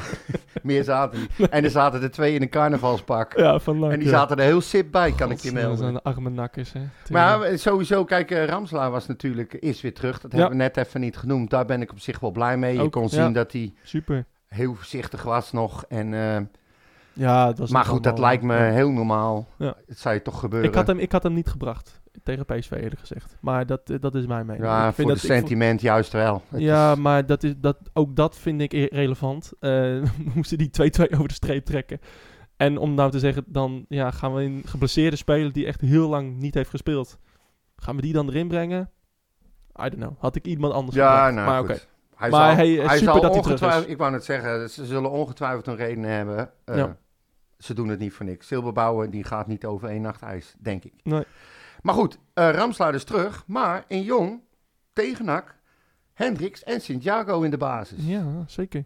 Meer zaten niet. En er zaten er twee in een carnavalspak. Ja, van Luik, En die ja. zaten er heel sip bij, kan ik je Godsnaam, Dat melden. zijn de arme nakkers, hè. dus- Maar eh, sowieso, kijk, eh, Ramslaar was natuurlijk, is weer terug. Dat Ja. hebben we net even niet genoemd. Daar ben ik op zich wel blij mee. je Ook, kon ja. zien dat hij Super. heel voorzichtig was nog. En, eh, Ja, dat was maar toch goed, dat allemaal- lijkt me heel normaal. Ja. Het zou je toch gebeuren. Ik had, hem, ik had hem niet gebracht. Tegen PSV eerder gezegd. Maar dat, eh, dat is mijn mening. ja, ik voor vind de dat, ik vo- sentiment juist wel. Het ja, is- maar dat is, dat, ook dat vind ik i- relevant. Eh, we moesten die 2-2 over de streep trekken. En om nou te zeggen, dan ja, gaan we een geblesseerde speler die echt heel lang niet heeft gespeeld. Gaan we die dan erin brengen? I don't know. Had ik iemand anders Ja, gebracht. nou maar goed. oké. Hij Maar hey, eh, super dat hij terug ongetwijfeld- is. Ik wou net zeggen, ze zullen ongetwijfeld een reden hebben. Eh, Ja. Ze doen het niet voor niks. Silberbouwer, die gaat niet over één nacht ijs, denk ik. Nee. Maar goed, eh Ramslaar is terug. Maar in Jong, Tegenak, Hendricks en Santiago in de basis. Ja, zeker.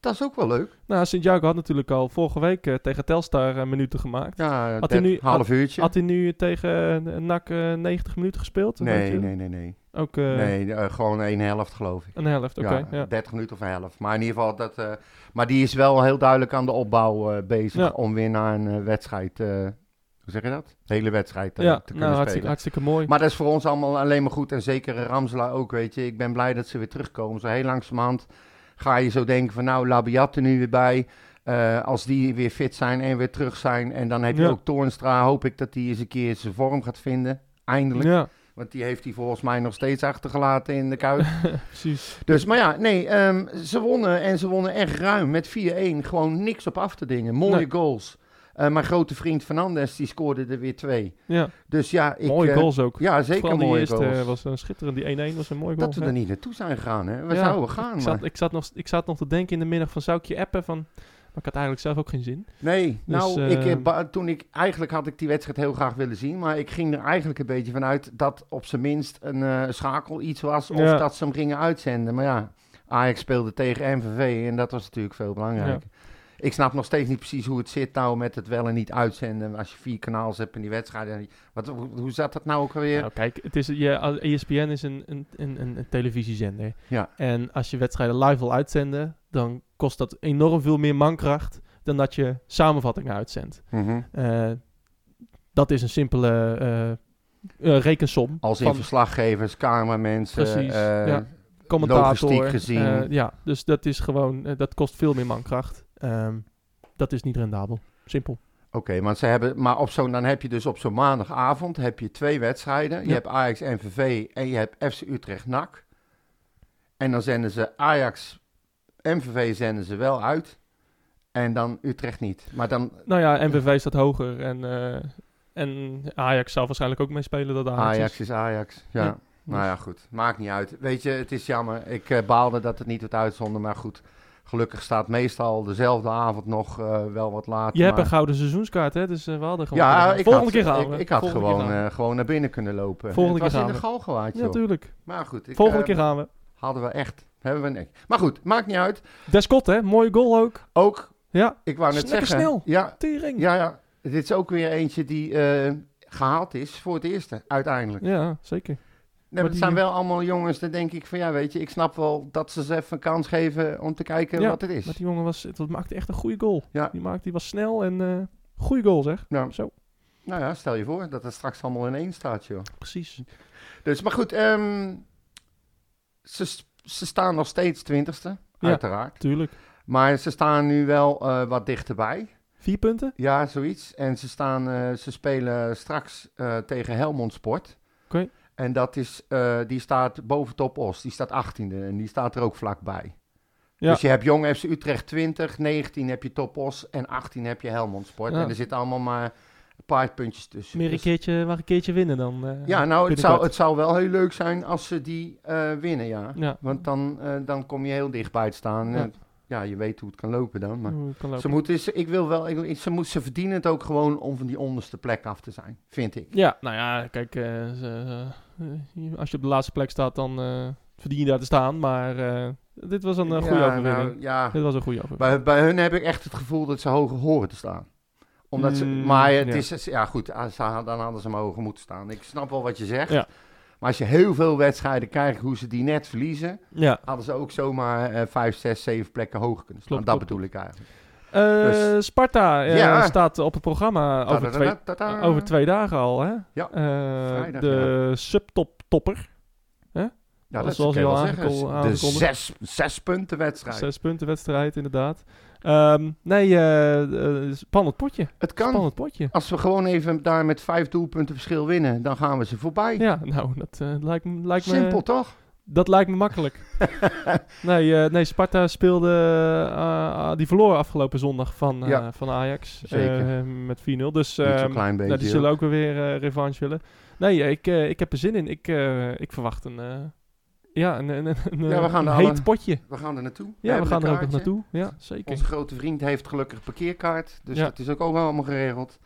Dat is ook wel leuk. Nou, Santiago had natuurlijk al vorige week eh, tegen Telstar eh, minuten gemaakt. Ja, Had een hij nu- half uurtje. Had hij nu tegen eh, NAC eh, 90 minuten gespeeld? Weet nee, je? nee, nee, nee. Ook eh, nee, eh, gewoon één helft, geloof ik. een helft, oké. ja, ja. 30 minuten of een helft. Maar in ieder geval, dat, eh, maar die is wel heel duidelijk aan de opbouw eh, bezig Ja. om weer naar een eh, wedstrijd, eh, hoe zeg je dat? De hele wedstrijd eh, ja, te kunnen nou, hartstikke, spelen. hartstikke mooi. Maar dat is voor ons allemaal alleen maar goed en zeker Ramselaar ook, weet je. Ik ben blij dat ze weer terugkomen. Zo heel langzamerhand ga je zo denken van nou, Labiat er nu weer bij. Eh, als die weer fit zijn en weer terug zijn. En dan heb je Ja. ook Toornstra. Hoop ik dat die eens een keer zijn vorm gaat vinden. Eindelijk. ja, Want die heeft hij volgens mij nog steeds achtergelaten in de kuit. precies. Dus, maar ja, nee, ehm, ze wonnen en ze wonnen echt ruim met 4-1. Gewoon niks op af te dingen. Mooie Nee. goals. Eh, mijn grote vriend Fernandes, die scoorde er weer twee. Ja, Dus ja, ik... mooie eh, goals ook. Ja, Vooral zeker die mooie eerste eh, goals. was een schitterend. Die 1-1 was een mooie goal. dat we ja. er niet naartoe zijn gegaan, hè. We Ja, zouden gaan, ik, maar... zat, ik, zat nog, ik zat nog te denken in de middag van zou ik je appen van... Maar ik had eigenlijk zelf ook geen zin. Nee, nou, Dus, ik, eh, eh, ba- toen ik, eigenlijk had ik die wedstrijd heel graag willen zien. Maar ik ging er eigenlijk een beetje vanuit dat op zijn minst een eh, schakel iets was. Of Ja. dat ze hem gingen uitzenden. Maar ja, Ajax speelde tegen MVV en dat was natuurlijk veel belangrijker. Ik snap nog steeds niet precies hoe het zit nou met het wel en niet uitzenden. Als je vier kanaals hebt in die wedstrijd. En die- wat, hoe, hoe zat dat nou ook alweer? Nou, kijk, het is, je, E als- ESPN is een, een, een, een, een televisiezender. Ja. En als je wedstrijden live wil uitzenden, dan kost dat enorm veel meer mankracht dan dat je samenvattingen uitzendt. Mhm. Eh, dat is een simpele eh, eh, rekensom. Als in van verslaggevers, cameramensen. Precies, eh, ja. commentator. logistiek gezien. eh, ja, dus dat is gewoon, eh, dat kost veel meer mankracht. Ehm, dat is niet rendabel. Simpel. Oké, maar, ze hebben, maar op zo'n, dan heb je dus op zo'n maandagavond heb je twee wedstrijden. Je Ja. hebt Ajax MVV en je hebt FC Utrecht NAC. En dan zenden ze Ajax MVV zenden ze wel uit. En dan Utrecht niet. Maar dan Nou ja, MVV staat hoger en, eh, en Ajax zal waarschijnlijk ook meespelen dat Ajax, is. Ajax is Ajax. Ja. Ja. Nou ja, goed. Maakt niet uit. Weet je, het is jammer. Ik eh, baalde dat het niet werd uitzonden. Maar goed, gelukkig staat meestal dezelfde avond nog eh, wel wat later. Je hebt maar- een gouden seizoenskaart, hè? Dus eh, we hadden gewoon... kunnen ja, gaan. ik Volgende had, keer gaan ik, we. ik had Volgende gewoon, keer gaan we. eh, gewoon naar binnen kunnen lopen. Volgende het keer was in gaan de we. galgenwaard, ja, joh. tuurlijk. Maar goed, ik, Volgende eh, keer gaan we. hadden we echt. Hebben we niks. Maar goed, maakt niet uit. Descott, hè? Mooie goal ook. Ook, Ja, ik wou net Lekker zeggen. snel. Ja, tering. ja, ja. Dit is ook weer eentje die eh, gehaald is voor het eerste, uiteindelijk. Ja, zeker. Nee, maar het die- zijn wel allemaal jongens, dan denk ik van ja, weet je, ik snap wel dat ze ze even een kans geven om te kijken Ja, wat het is. Maar die jongen was, dat maakte echt een goede goal. Ja. Die, maakte, die was snel en eh goede goal, zeg. Nou, Zo. nou ja, stel je voor dat het straks allemaal in één staat, joh. Precies. Dus, maar goed, ehm, ze, s- ze staan nog steeds twintigste, Ja. uiteraard. Tuurlijk. Maar ze staan nu wel eh, wat dichterbij. Vier punten? Ja, zoiets. En ze, staan, eh, ze spelen straks eh, tegen Helmond Sport. Oké. En dat is, eh, die staat boven Top Os. Die staat 18e en die staat er ook vlakbij. Ja. Dus je hebt Jong FC Utrecht 20, 19 heb je Top Os en 18 heb je Helmond Sport. Ja. En er zitten allemaal maar een paar puntjes tussen. Meer een Dus- keertje, maar een keertje winnen dan. eh, ja, nou, het zou, binnenkort. het zou wel heel leuk zijn als ze die eh, winnen, ja. Ja. Want dan, eh, dan kom je heel dichtbij het staan. Ja. En, ja, je weet hoe het kan lopen dan. Maar... Hoe het kan Ze, lopen. moeten, ze, ik wil wel, ik, wil- ze, moet, ze verdienen het ook gewoon om van die onderste plek af te zijn, vind ik. Ja, nou ja, kijk, eh, ze- eh, als je op de laatste plek staat, dan eh, verdien je daar te staan. Maar eh, dit was een eh, goede ja, overwinning. nou, ja. Dit was een goede overwinning. Bij, bij hun heb ik echt het gevoel dat ze hoger horen te staan. Omdat ze, Mm, maar het ja. is, is- ja goed, ah, ze had- dan hadden ze maar hoger moeten staan. Ik snap wel wat je zegt. Ja. Maar als je heel veel wedstrijden kijkt hoe ze die net verliezen, Ja. hadden ze ook zomaar eh, vijf, zes, zeven plekken hoger kunnen staan. Klopt, dat klopt, bedoel ik eigenlijk. Eh, Dus- Sparta eh, Ja. staat op het programma over twee, Tadadadada. over twee dagen al. Hè? Ja, Eh, vrijdag, de subtop-topper. Ja, dat zoals zoals je je al wel zeggen. aangekondigd- De aangekondigd. zes, zes punten wedstrijd. Zes punten wedstrijd, inderdaad. Ehm, nee, eh, eh, spannend potje. Het kan. Spannend potje. Als we gewoon even daar met vijf doelpunten verschil winnen, dan gaan we ze voorbij. Ja, nou, dat eh, lijkt, me- lijkt me... Simpel toch? Dat lijkt me makkelijk. nee, eh, nee, Sparta speelde. eh, eh, die verloor afgelopen zondag van, eh, Ja. van Ajax. Zeker. eh, met 4-0. Dus Niet zo'n ehm, klein nou, die beetje, zullen ook weer weer eh, revanche willen. Nee, eh, ik, eh, ik heb er zin in. Ik, eh, ik verwacht een. eh, ja, een, een, een, een, Ja, we gaan een alle- heet potje. We gaan er naartoe. Ja, we, hebben gaan een er ook nog kaartje. naartoe. Ja, zeker. Onze grote vriend heeft gelukkig parkeerkaart, dus Ja. dat is ook ook allemaal geregeld.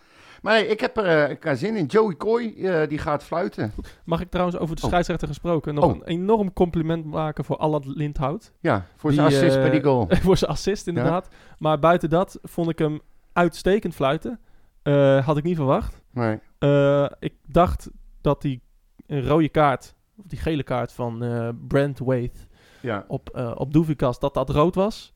Maar nee, ik heb er eh, ik heb zin in. Joey Kooi, eh, die gaat fluiten. Mag ik trouwens over de Oh. scheidsrechter gesproken nog Oh. een enorm compliment maken voor Allard Lindhout? Ja, voor Die, zijn assist eh, bij die goal. voor zijn assist inderdaad. Maar buiten dat vond ik hem uitstekend fluiten. Eh, had ik niet verwacht. Nee. Eh, ik dacht dat die eh, rode kaart, of die gele kaart van eh Brent Waith Ja. op, eh op Doevikas, dat dat rood was.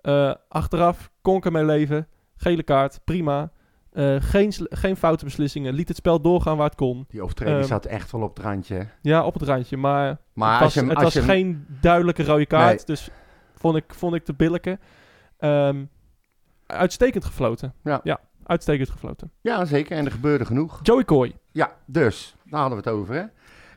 Eh, achteraf kon ik ermee leven. Gele kaart, prima. Eh, geen, sl- geen foute beslissingen. Liet het spel doorgaan waar het kon. Die overtreding Ehm, zat echt wel op het randje. hè. Ja, op het randje. Maar Maar het was, als je hem- het als was je hem- geen duidelijke rode kaart. Nee. Dus vond ik, vond ik te billijke. Ehm, uitstekend gefloten. Ja. uitstekend gefloten. Ja, zeker. En er gebeurde genoeg. Joey Kooi. Ja, dus. Daar hadden we het over, hè.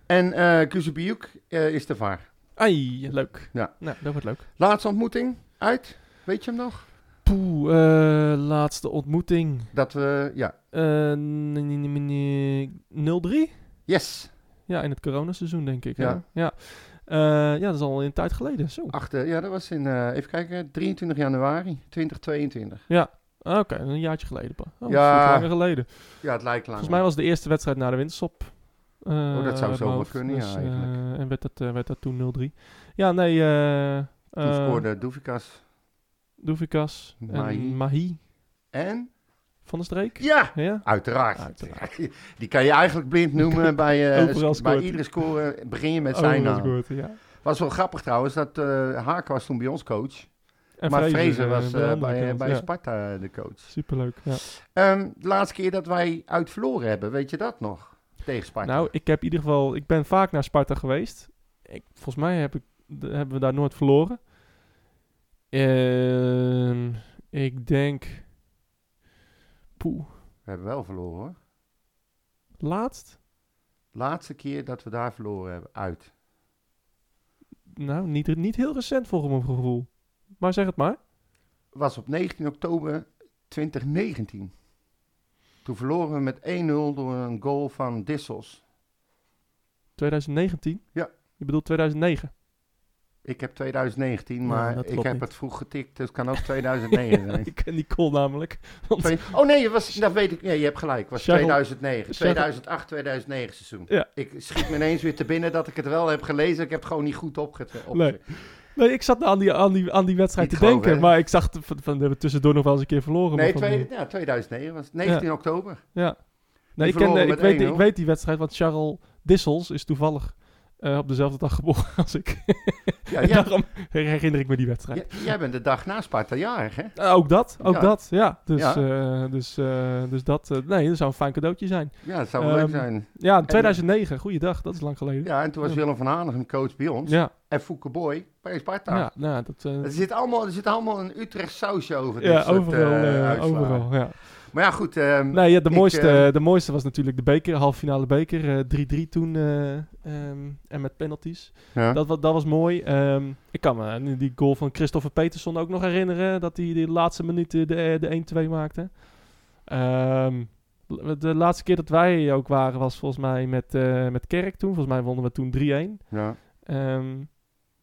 En eh Kuzubiuk is de vaar. Ai, leuk. Ja. Nou, dat wordt leuk. Laatste ontmoeting. Uit. Weet je hem nog? Poeh, eh, laatste ontmoeting. Dat we... Ja. Eh, n- n- n- n- 0-3? Yes. Ja, in het coronaseizoen denk ik. Ja. Ja. ja. Eh, ja, dat is al een tijd geleden. Zo. Achter, ja, dat was in, eh, even kijken, 23 januari 2022. Ah, Oké, een jaartje geleden. pa. Oh, dat is Ja. niet langer geleden. Ja, het lijkt lang. Volgens mij was het de eerste wedstrijd na de winterstop. eh, Oh, uit dat zou zo mijn wel hoofd. kunnen, ja, eh, eigenlijk. en werd dat, eh, werd dat toen 0-3. Ja, nee. eh Toen eh, scoorde Doevikas. Doevikas Mahi. en Mahi En? van de Streek. Ja! Ja? Uiteraard. Uiteraard. Die kan je eigenlijk blind noemen bij, eh, Overal scoort bij hij. iedere score. Begin je met Oh, zijn dat is naam. goed, ja. Was wel grappig trouwens, dat eh Haak was toen bij ons coach. En maar Fraser, Vrezen eh, was de eh, andere bij, kant, bij ja. Sparta eh, de coach. Superleuk, ja. Ehm, de laatste keer dat wij uit verloren hebben, weet je dat nog? Tegen Sparta. Nou, ik heb in ieder geval... Ik ben vaak naar Sparta geweest. Ik, volgens mij heb ik, de- hebben we daar nooit verloren. Ehm, ik denk... Poeh, We hebben wel verloren hoor. laatst? Laatste keer dat we daar verloren hebben, uit. Nou, niet, niet heel recent volgens mijn gevoel. Maar zeg het maar. Was op 19 oktober 2019. Toen verloren we met 1-0 door een goal van Dissels. 2019? Ja. Je bedoelt 2009? Ik heb 2019, Ja, maar dat ik klopt heb niet. het vroeg getikt, dus het kan ook 2009 zijn. Ik ken die call namelijk. Want Twee- Oh nee, het was, dat weet ik. Nee, je hebt gelijk. Het was Cheryl- 2009. Cheryl- 2008, 2009 seizoen. Ja. Ik schiet me ineens weer te binnen dat ik het wel heb gelezen. Ik heb het gewoon niet goed opgezet. Nee. Nee, ik zat aan die, aan die, aan die wedstrijd Niet te denken. geloven, hè? maar ik zag t- van, van, we hebben tussendoor nog wel eens een keer verloren. Nee, maar van, twee- ja, 2009 was het. 19 oktober. Ja. Nee, ik, ken, verloren eh, ik, met weet, 1-0. ik weet die wedstrijd, want Charles Dissels is toevallig eh, op dezelfde dag geboren als ik. Ah, Ja, en jij, daarom herinner ik me die wedstrijd. jij- jij bent de dag na Sparta jarig, hè? Eh, ook dat, ook Ja. dat, ja. Dus, Ja. eh, dus, eh, dus dat, eh, nee, dat zou een fijn cadeautje zijn. Ja, dat zou Ehm, leuk zijn. Ja, 2009, goeiedag, dat is lang geleden. Ja, en toen was ja. Willem van Hanegem coach bij ons. ja, En Fouke Boy bij Sparta. ja, nou, dat... eh, Er, zit allemaal, er zit allemaal een Utrecht sausje over dit ja, soort, overal, eh, eh, uitslagen. overal, ja. Maar ja, goed. ehm, Nee, ja, de, ik, mooiste, eh, de mooiste was natuurlijk de beker, halffinale beker, eh, 3-3 toen eh, ehm, en met penalties. ja. Dat, wa- dat was mooi. Ehm, ik kan me aan die goal van Christopher Peterson ook nog herinneren. Dat hij de laatste minuut eh, de, de 1-2 maakte. Ehm, l- de laatste keer dat wij ook waren was volgens mij met, eh, met Kerk toen. Volgens mij wonnen we toen 3-1. ja. Ehm,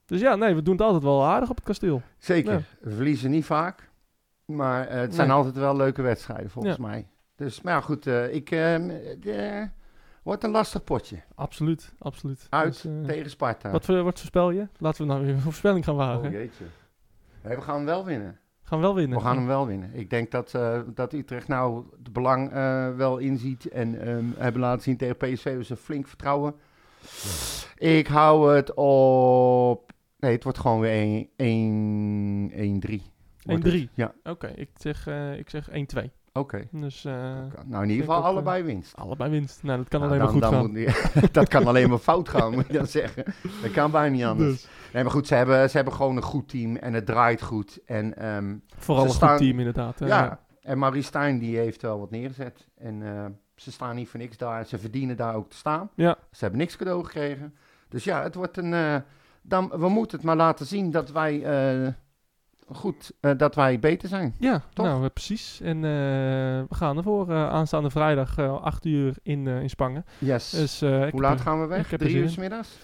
dus ja, nee, we doen het altijd wel aardig op het kasteel. Zeker. Ja. We verliezen niet vaak. Maar eh, het Nee. zijn altijd wel leuke wedstrijden, volgens mij. Dus, maar ja, goed. eh, ik, ehm, het, eh, wordt een lastig potje. Absoluut, absoluut. Uit Dus, eh, tegen Sparta. wat, voor, wat voorspel je? Laten we nou weer een voorspelling gaan wagen. oh, jeetje. Nee, we gaan hem wel winnen. Gaan we wel winnen. We gaan hem wel winnen. Ik denk dat, eh, dat Utrecht nou het belang eh, wel inziet. En ehm, hebben laten zien tegen PSV. Dus een flink vertrouwen. Ik hou het op... Nee, het wordt gewoon weer 1-3. 1-3. 1-3. Ja. Oké, ik zeg, eh, ik zeg 1-2. Oké. Dus eh, Nou, in ieder denk geval ook, eh, allebei winst. allebei winst. Nou, dat kan alleen Nou, maar goed dan- gaan. dan moet die- dat kan alleen maar fout gaan, moet je dan zeggen. Dat kan bijna niet anders. Dus. Nee, maar goed, ze hebben, ze hebben gewoon een goed team en het draait goed. En, ehm, Vooral Ze een staan- goed team inderdaad. eh. hè. ja, en Marie Stijn die heeft wel wat neergezet. En eh, ze staan niet voor niks daar. Ze verdienen daar ook te staan. Ja. Ze hebben niks cadeau gekregen. Dus ja, het wordt een... eh, dan, we moeten het maar laten zien dat wij... eh, Goed, eh, dat wij beter zijn. Ja, Toch? nou eh, precies. En eh, we gaan ervoor eh, aanstaande vrijdag eh, 8 uur in, eh, in Spangen. Yes. Dus, eh, ik Hoe heb laat er- gaan we weg? ik heb er Drie zin uur in. 's middags?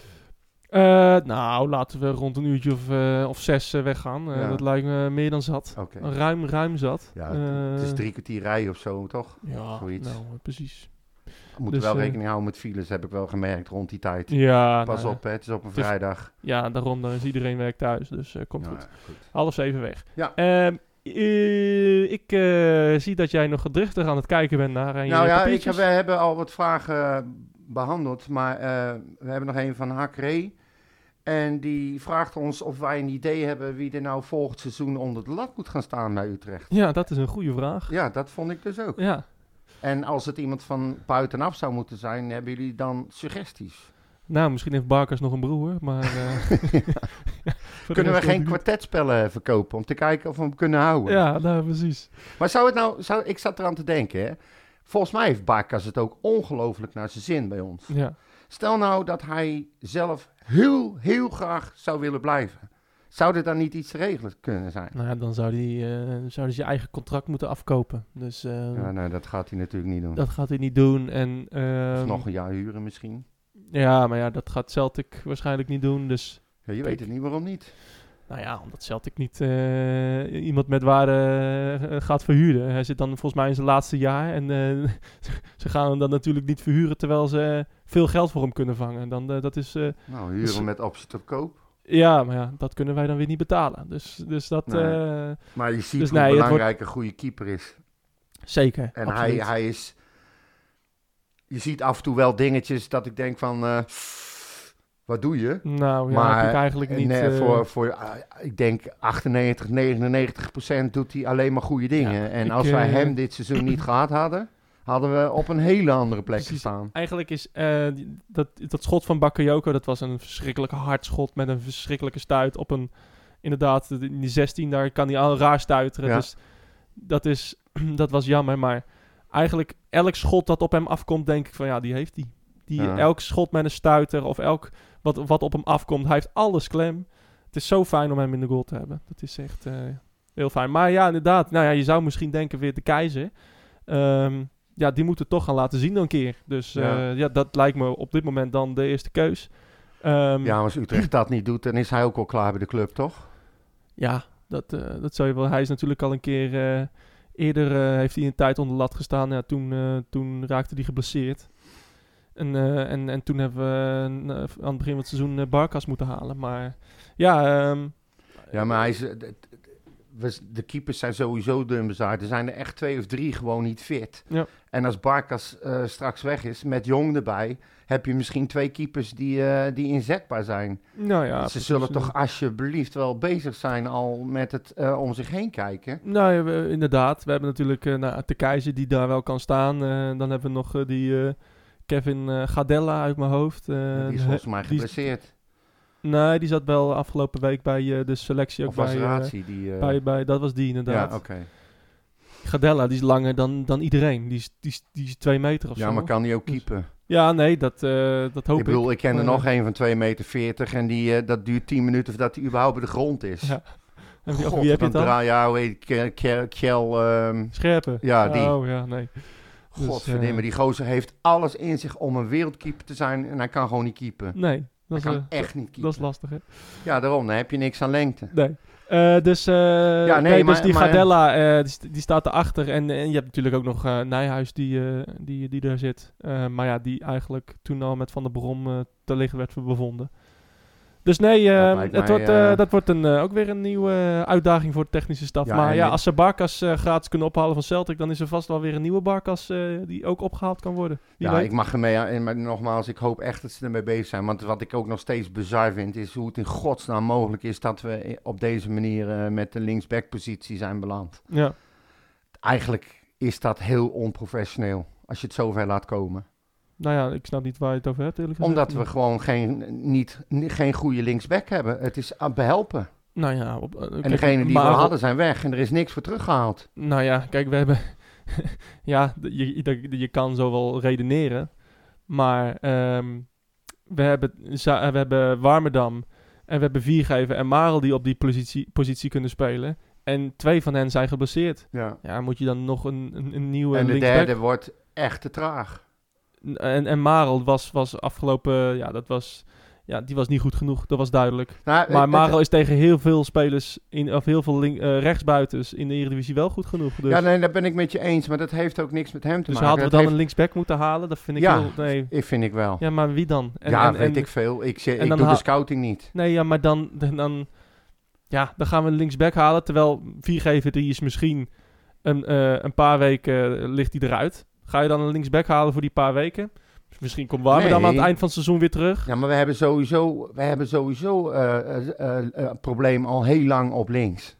Eh, nou, laten we rond een uurtje of, eh, of zes eh, weggaan. Eh, Ja. Dat lijkt me meer dan zat. Oké. Ruim, ruim zat. Ja, het is Eh, drie kwartier rijden of zo, toch? Ja, zoiets. nou, eh, precies. We moeten Dus, wel eh, rekening houden met files, heb ik wel gemerkt rond die tijd. Ja, Pas nou, op, hè, het is op een is vrijdag. Ja, daarom dan is iedereen werkt thuis. Dus eh, komt Ja, goed. goed. Half zeven weg. Ja. Ehm, eh, ik eh, zie dat jij nog gedriftig aan het kijken bent naar eh, je Nou ja, ik, papiertjes. heb- we hebben al wat vragen eh, behandeld, maar eh, we hebben nog een van Hakré. E. En die vraagt ons of wij een idee hebben wie er nou volgend seizoen onder de lat moet gaan staan bij Utrecht. Ja, dat is een goede vraag. Ja, dat vond ik dus ook. Ja. En als het iemand van buitenaf zou moeten zijn, hebben jullie dan suggesties? Nou, misschien heeft Barkers nog een broer, maar... eh, voor de Kunnen rest we geen wel niet. kwartetspellen verkopen om te kijken of we hem kunnen houden? Ja, nou, precies. Maar zou het nou, zou, ik zat eraan te denken, hè. Volgens mij heeft Barkas het ook ongelooflijk naar zijn zin bij ons. Ja. Stel nou dat hij zelf heel, heel graag zou willen blijven. Zou er dan niet iets te regelen kunnen zijn? Nou ja, dan zou die, eh, zouden ze je eigen contract moeten afkopen. Dus eh, nou. Ja, nee, dat gaat hij natuurlijk niet doen. dat gaat hij niet doen. En, ehm, Of nog een jaar huren misschien. Ja, maar ja, dat gaat Celtic waarschijnlijk niet doen. Dus, Ja, je weet het niet, waarom niet? nou ja, omdat Celtic niet eh, iemand met waarde eh, gaat verhuren. Hij zit dan volgens mij in zijn laatste jaar. En eh, ze gaan hem dan natuurlijk niet verhuren terwijl ze eh, veel geld voor hem kunnen vangen. Dan, eh, dat is... eh, Nou, huren Dus- met optie tot koop. ja, maar ja, dat kunnen wij dan weer niet betalen. Dus, dus dat... Nee. eh, Maar je ziet Dus hoe nee, het wordt- belangrijk een goede keeper is. zeker. En hij, absoluut. hij is... Je ziet af en toe wel dingetjes dat ik denk van... eh, wat doe je? Nou ja, Maar, heb ik eigenlijk niet... En, eh, eh, voor, voor ah, ik denk 98, 99 procent doet hij alleen maar goede dingen. Ja, en ik, als wij eh, hem dit seizoen niet gehad hadden, hadden we op een hele andere plek Precies. gestaan. Eigenlijk is eh, die- dat, dat schot van Bakayoko, dat was een verschrikkelijk hard schot met een verschrikkelijke stuit op een, inderdaad, de- in die 16, daar kan hij al raar stuiteren. Ja. Dus dat, is, dat was jammer, maar eigenlijk elk schot dat op hem afkomt, denk ik van ja, die heeft hij. Die, Ja. Elk schot met een stuiter of elk wat, wat op hem afkomt, hij heeft alles klem. Het is zo fijn om hem in de goal te hebben. Dat is echt eh, heel fijn. Maar ja, inderdaad, nou ja, je zou misschien denken weer de keizer. Ehm, ja, die moeten toch gaan laten zien dan een keer. Dus eh, Ja. ja. dat lijkt me op dit moment dan de eerste keus. Ehm, Ja, als Utrecht dat niet doet, dan is hij ook al klaar bij de club, toch? Ja, dat, eh, dat zou je wel. Hij is natuurlijk al een keer eh, eerder eh, heeft hij een tijd onder de lat gestaan. Ja, toen, eh, toen raakte hij geblesseerd. En, eh, en, en toen hebben we een, eh, aan het begin van het seizoen eh, Barkas moeten halen. Maar ja, ehm, Ja, maar hij is, eh, d- d- we- de keepers zijn sowieso dun bezaaid. Er zijn er echt twee of drie gewoon niet fit. Ja. En als Barkas eh, straks weg is, met Jong erbij, heb je misschien twee keepers die, eh, die inzetbaar zijn. nou ja. Ze precies, zullen eh, toch alsjeblieft wel bezig zijn al met het eh, om zich heen kijken. Nou, ja, we- inderdaad. We hebben natuurlijk eh nou, de keizer die daar wel kan staan. Eh, dan hebben we nog eh, die eh, Kevin eh, Gadella uit mijn hoofd. Eh, die is de- volgens mij die is- geblesseerd. nee, die zat wel afgelopen week bij eh, de selectie. Ook Of was bij, eh, Ratie die... eh, bij, bij, dat was die ja, inderdaad. oké. Gadella, die is langer dan, dan iedereen. Die is, die, is, die is twee meter of Ja, zo. maar kan die ook Dus- keepen? Ja, nee, dat, eh, dat hoop Ik bedoel, ik, ken er maar- nog één van 2,40 meter en die, eh, dat duurt 10 minuten voordat hij überhaupt bij de grond is. Ja. En wie, God, of wie heb je het dan? draai- Ja, hoe heet Kel- Kel- Kel, ehm, Scherpen? Ja, die. Oh ja, nee. Dus, Godverdomme, eh, die gozer heeft alles in zich om een wereldkeeper te zijn en hij kan gewoon niet keepen. Nee, dat Hij is, kan eh, echt niet dat is keepen. lastig, hè? Ja, daarom, dan heb je niks aan lengte. Nee. Eh, dus, eh, nee, nee, maar- dus die maar- Gadella, eh, die, st- die staat erachter. En, en je hebt natuurlijk ook nog eh, Nijhuis die, eh, die, die daar zit. Eh, maar ja, die eigenlijk toen al met Van der Brom eh, te liggen werd bevonden. Dus nee, eh, Dat lijkt het mij, wordt, eh, eh, dat wordt een, eh, ook weer een nieuwe eh, uitdaging voor de technische staf. Ja, maar en ja, dit- als ze Barkas eh, gratis kunnen ophalen van Celtic, dan is er vast wel weer een nieuwe Barkas eh, die ook opgehaald kan worden. Wie ja, weet. ik mag ermee. en Maar nogmaals, ik hoop echt dat ze ermee bezig zijn. Want wat ik ook nog steeds bizar vind, is hoe het in godsnaam mogelijk is dat we i- op deze manier eh, met de linksbackpositie zijn beland. Ja. Eigenlijk is dat heel onprofessioneel. Als je het zover laat komen. Nou ja, ik snap niet waar je het over hebt, eerlijk gezegd. Omdat we gewoon geen, niet, ni- geen goede linksback hebben. Het is aan behelpen. Nou ja, op, eh, en kijk, degenen die we Marel- hadden zijn weg. En er is niks voor teruggehaald. Nou ja, kijk, we hebben. ja, d- je, je, je kan zo wel redeneren. Maar ehm, we, hebben, Za- eh, we hebben Warmerdam. En we hebben Viergever en Marel die op die positie, positie kunnen spelen. En twee van hen zijn geblesseerd. Ja. Ja, moet je dan nog een, een, een nieuwe. En de linksback- derde wordt echt te traag. En, en Marel was, was afgelopen. Ja, dat was. Ja, die was niet goed genoeg. Dat was duidelijk. Nou, Maar het- Marel is tegen heel veel spelers. In, of heel veel link, eh, rechtsbuitens in de Eredivisie wel goed genoeg. Dus. Ja, nee, daar ben ik met je eens. Maar dat heeft ook niks met hem te Dus maken. hadden we Dat dan een linksback moeten halen? Dat vind ik Ja. heel... Nee. heeft- vind ik wel. Ja, maar wie dan? En- ja, en- weet en- ik veel. Ik, zeg, en ik dan doe de haal- scouting niet. Nee, ja, maar dan... dan, dan- ja, dan gaan we een linksback halen. Terwijl 4 die is misschien een, eh, een paar weken eh, ligt hij eruit. Ga je dan een linksback halen voor die paar weken? Misschien komt Warmer dan aan Nee. het eind van het seizoen weer terug. Ja, maar we hebben sowieso, we hebben sowieso eh, eh, eh, eh, een probleem al heel lang op links.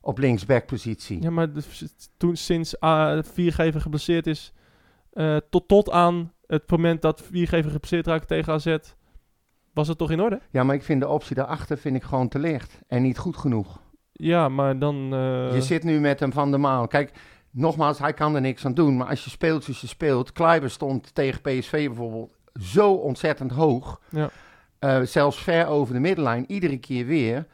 Op linksbackpositie. Ja, maar dus toen sinds eh, Viergever geblesseerd is... eh, tot, tot aan het moment dat Viergever geblesseerd raakt tegen AZ... was het toch in orde? Ja, maar ik vind de optie daarachter vind ik gewoon te licht. En niet goed genoeg. Ja, maar dan... eh, Je zit nu met hem van de maal. Kijk, nogmaals, hij kan er niks aan doen. Maar als je speelt zoals je speelt. Kleiber stond tegen PSV bijvoorbeeld zo ontzettend hoog. Ja. Eh, zelfs ver over de middenlijn. Iedere keer weer.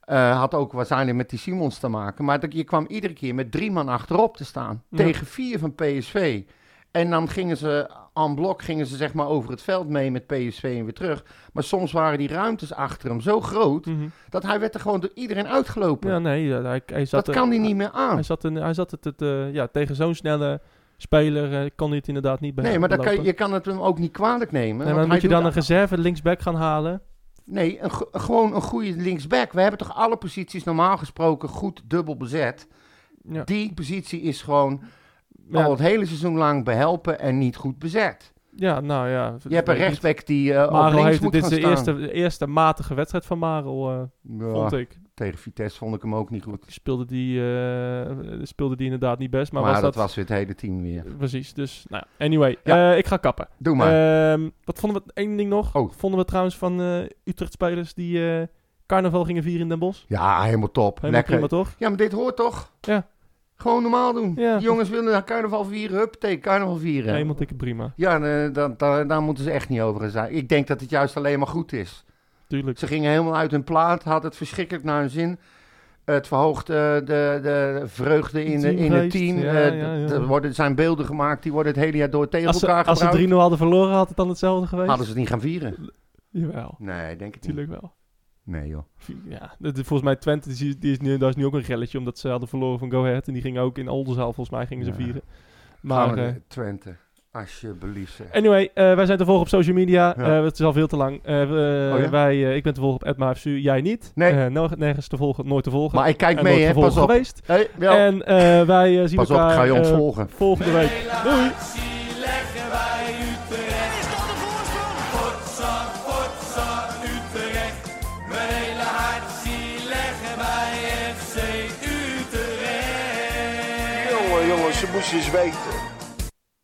Eh, had ook waarschijnlijk met die Simons te maken. Maar dat, je kwam iedere keer met drie man achterop te staan. Ja. Tegen vier van PSV. En dan gingen ze en blok gingen ze zeg maar over het veld mee met PSV en weer terug. Maar soms waren die ruimtes achter hem zo groot Mhm. dat hij werd er gewoon door iedereen uitgelopen. Ja, nee, ja, hij, hij zat dat kan hij niet meer aan. Hij zat, een, hij zat het, het, eh, ja, tegen zo'n snelle speler eh, kon hij het inderdaad niet bij Nee, maar dan kan je, belopen. je kan het hem ook niet kwalijk nemen. Nee, want maar hij moet je doet dan een reserve linksback gaan halen? Nee, een go- gewoon een goede linksback. We hebben toch alle posities normaal gesproken goed dubbel bezet. Ja. Die positie is gewoon Ja, al het hele seizoen lang behelpen en niet goed bezet. ja, nou ja. Je hebt een rechtsback die eh op Marel links heeft moet dit gaan is de staan. eerste, de eerste matige wedstrijd van Marel, eh, Ja, vond ik. Tegen Vitesse vond ik hem ook niet goed. Speelde die, eh, speelde die inderdaad niet best, maar, Maar, was dat, dat... was weer het hele team weer. Precies, dus nou ja. Anyway, Ja. eh, ik ga kappen. Doe maar. Ehm, wat vonden we, één ding nog. Oh. Vonden we trouwens van eh, Utrecht-spelers die eh, carnaval gingen vieren in Den Bosch? ja, helemaal top. Helemaal Lekker. prima, toch? Ja, maar dit hoort toch? Ja. Gewoon normaal doen. Ja. Die jongens willen naar carnaval vieren. Hup, tegen carnaval vieren. Helemaal dikke prima, Ja, eh, da- da- daar moeten ze echt niet over gaan zijn. Ik denk dat het juist alleen maar goed is. tuurlijk. Ze gingen helemaal uit hun plaat, hadden het verschrikkelijk naar hun zin. Het verhoogt eh, de, de vreugde in, de, in het Teamgeest, team. ja, Eh, d- ja, ja. d- Er worden, zijn beelden gemaakt, die worden het hele jaar door tegen Als ze, elkaar als ze 3-0 gebruikt. hadden verloren, had het dan hetzelfde geweest? Hadden ze het niet gaan vieren? Jawel, Nee, ik denk het niet. natuurlijk wel. Nee joh. Ja, dat is volgens mij Twente, die is, die is nu, daar is nu ook een relletje, omdat ze hadden verloren van Go Ahead. En die gingen ook in Oldenzaal, volgens mij, gingen ze Ja. vieren. Maar, Maar eh, Twente, alsjeblieft. zeg. anyway, eh, wij zijn te volgen op social media. Ja. Eh, het is al veel te lang. Eh, we- Oh ja? wij, eh, ik ben te volgen op @maafsu, jij niet. Nee. Eh, no- nergens te volgen, nooit te volgen. Maar ik kijk En mee, nooit hè, te volgen pas op. geweest. Hey, wel, En eh, wij eh, zien pas op, elkaar ik ga je eh, ontvolgen. volgende week. Doei! leggen wij Utrecht. Is dat de voorsprong? Potsa, potsa, Utrecht. Mijn hele hart zie leggen wij FC Utrecht. Jongen, jongen, ze moest eens weten.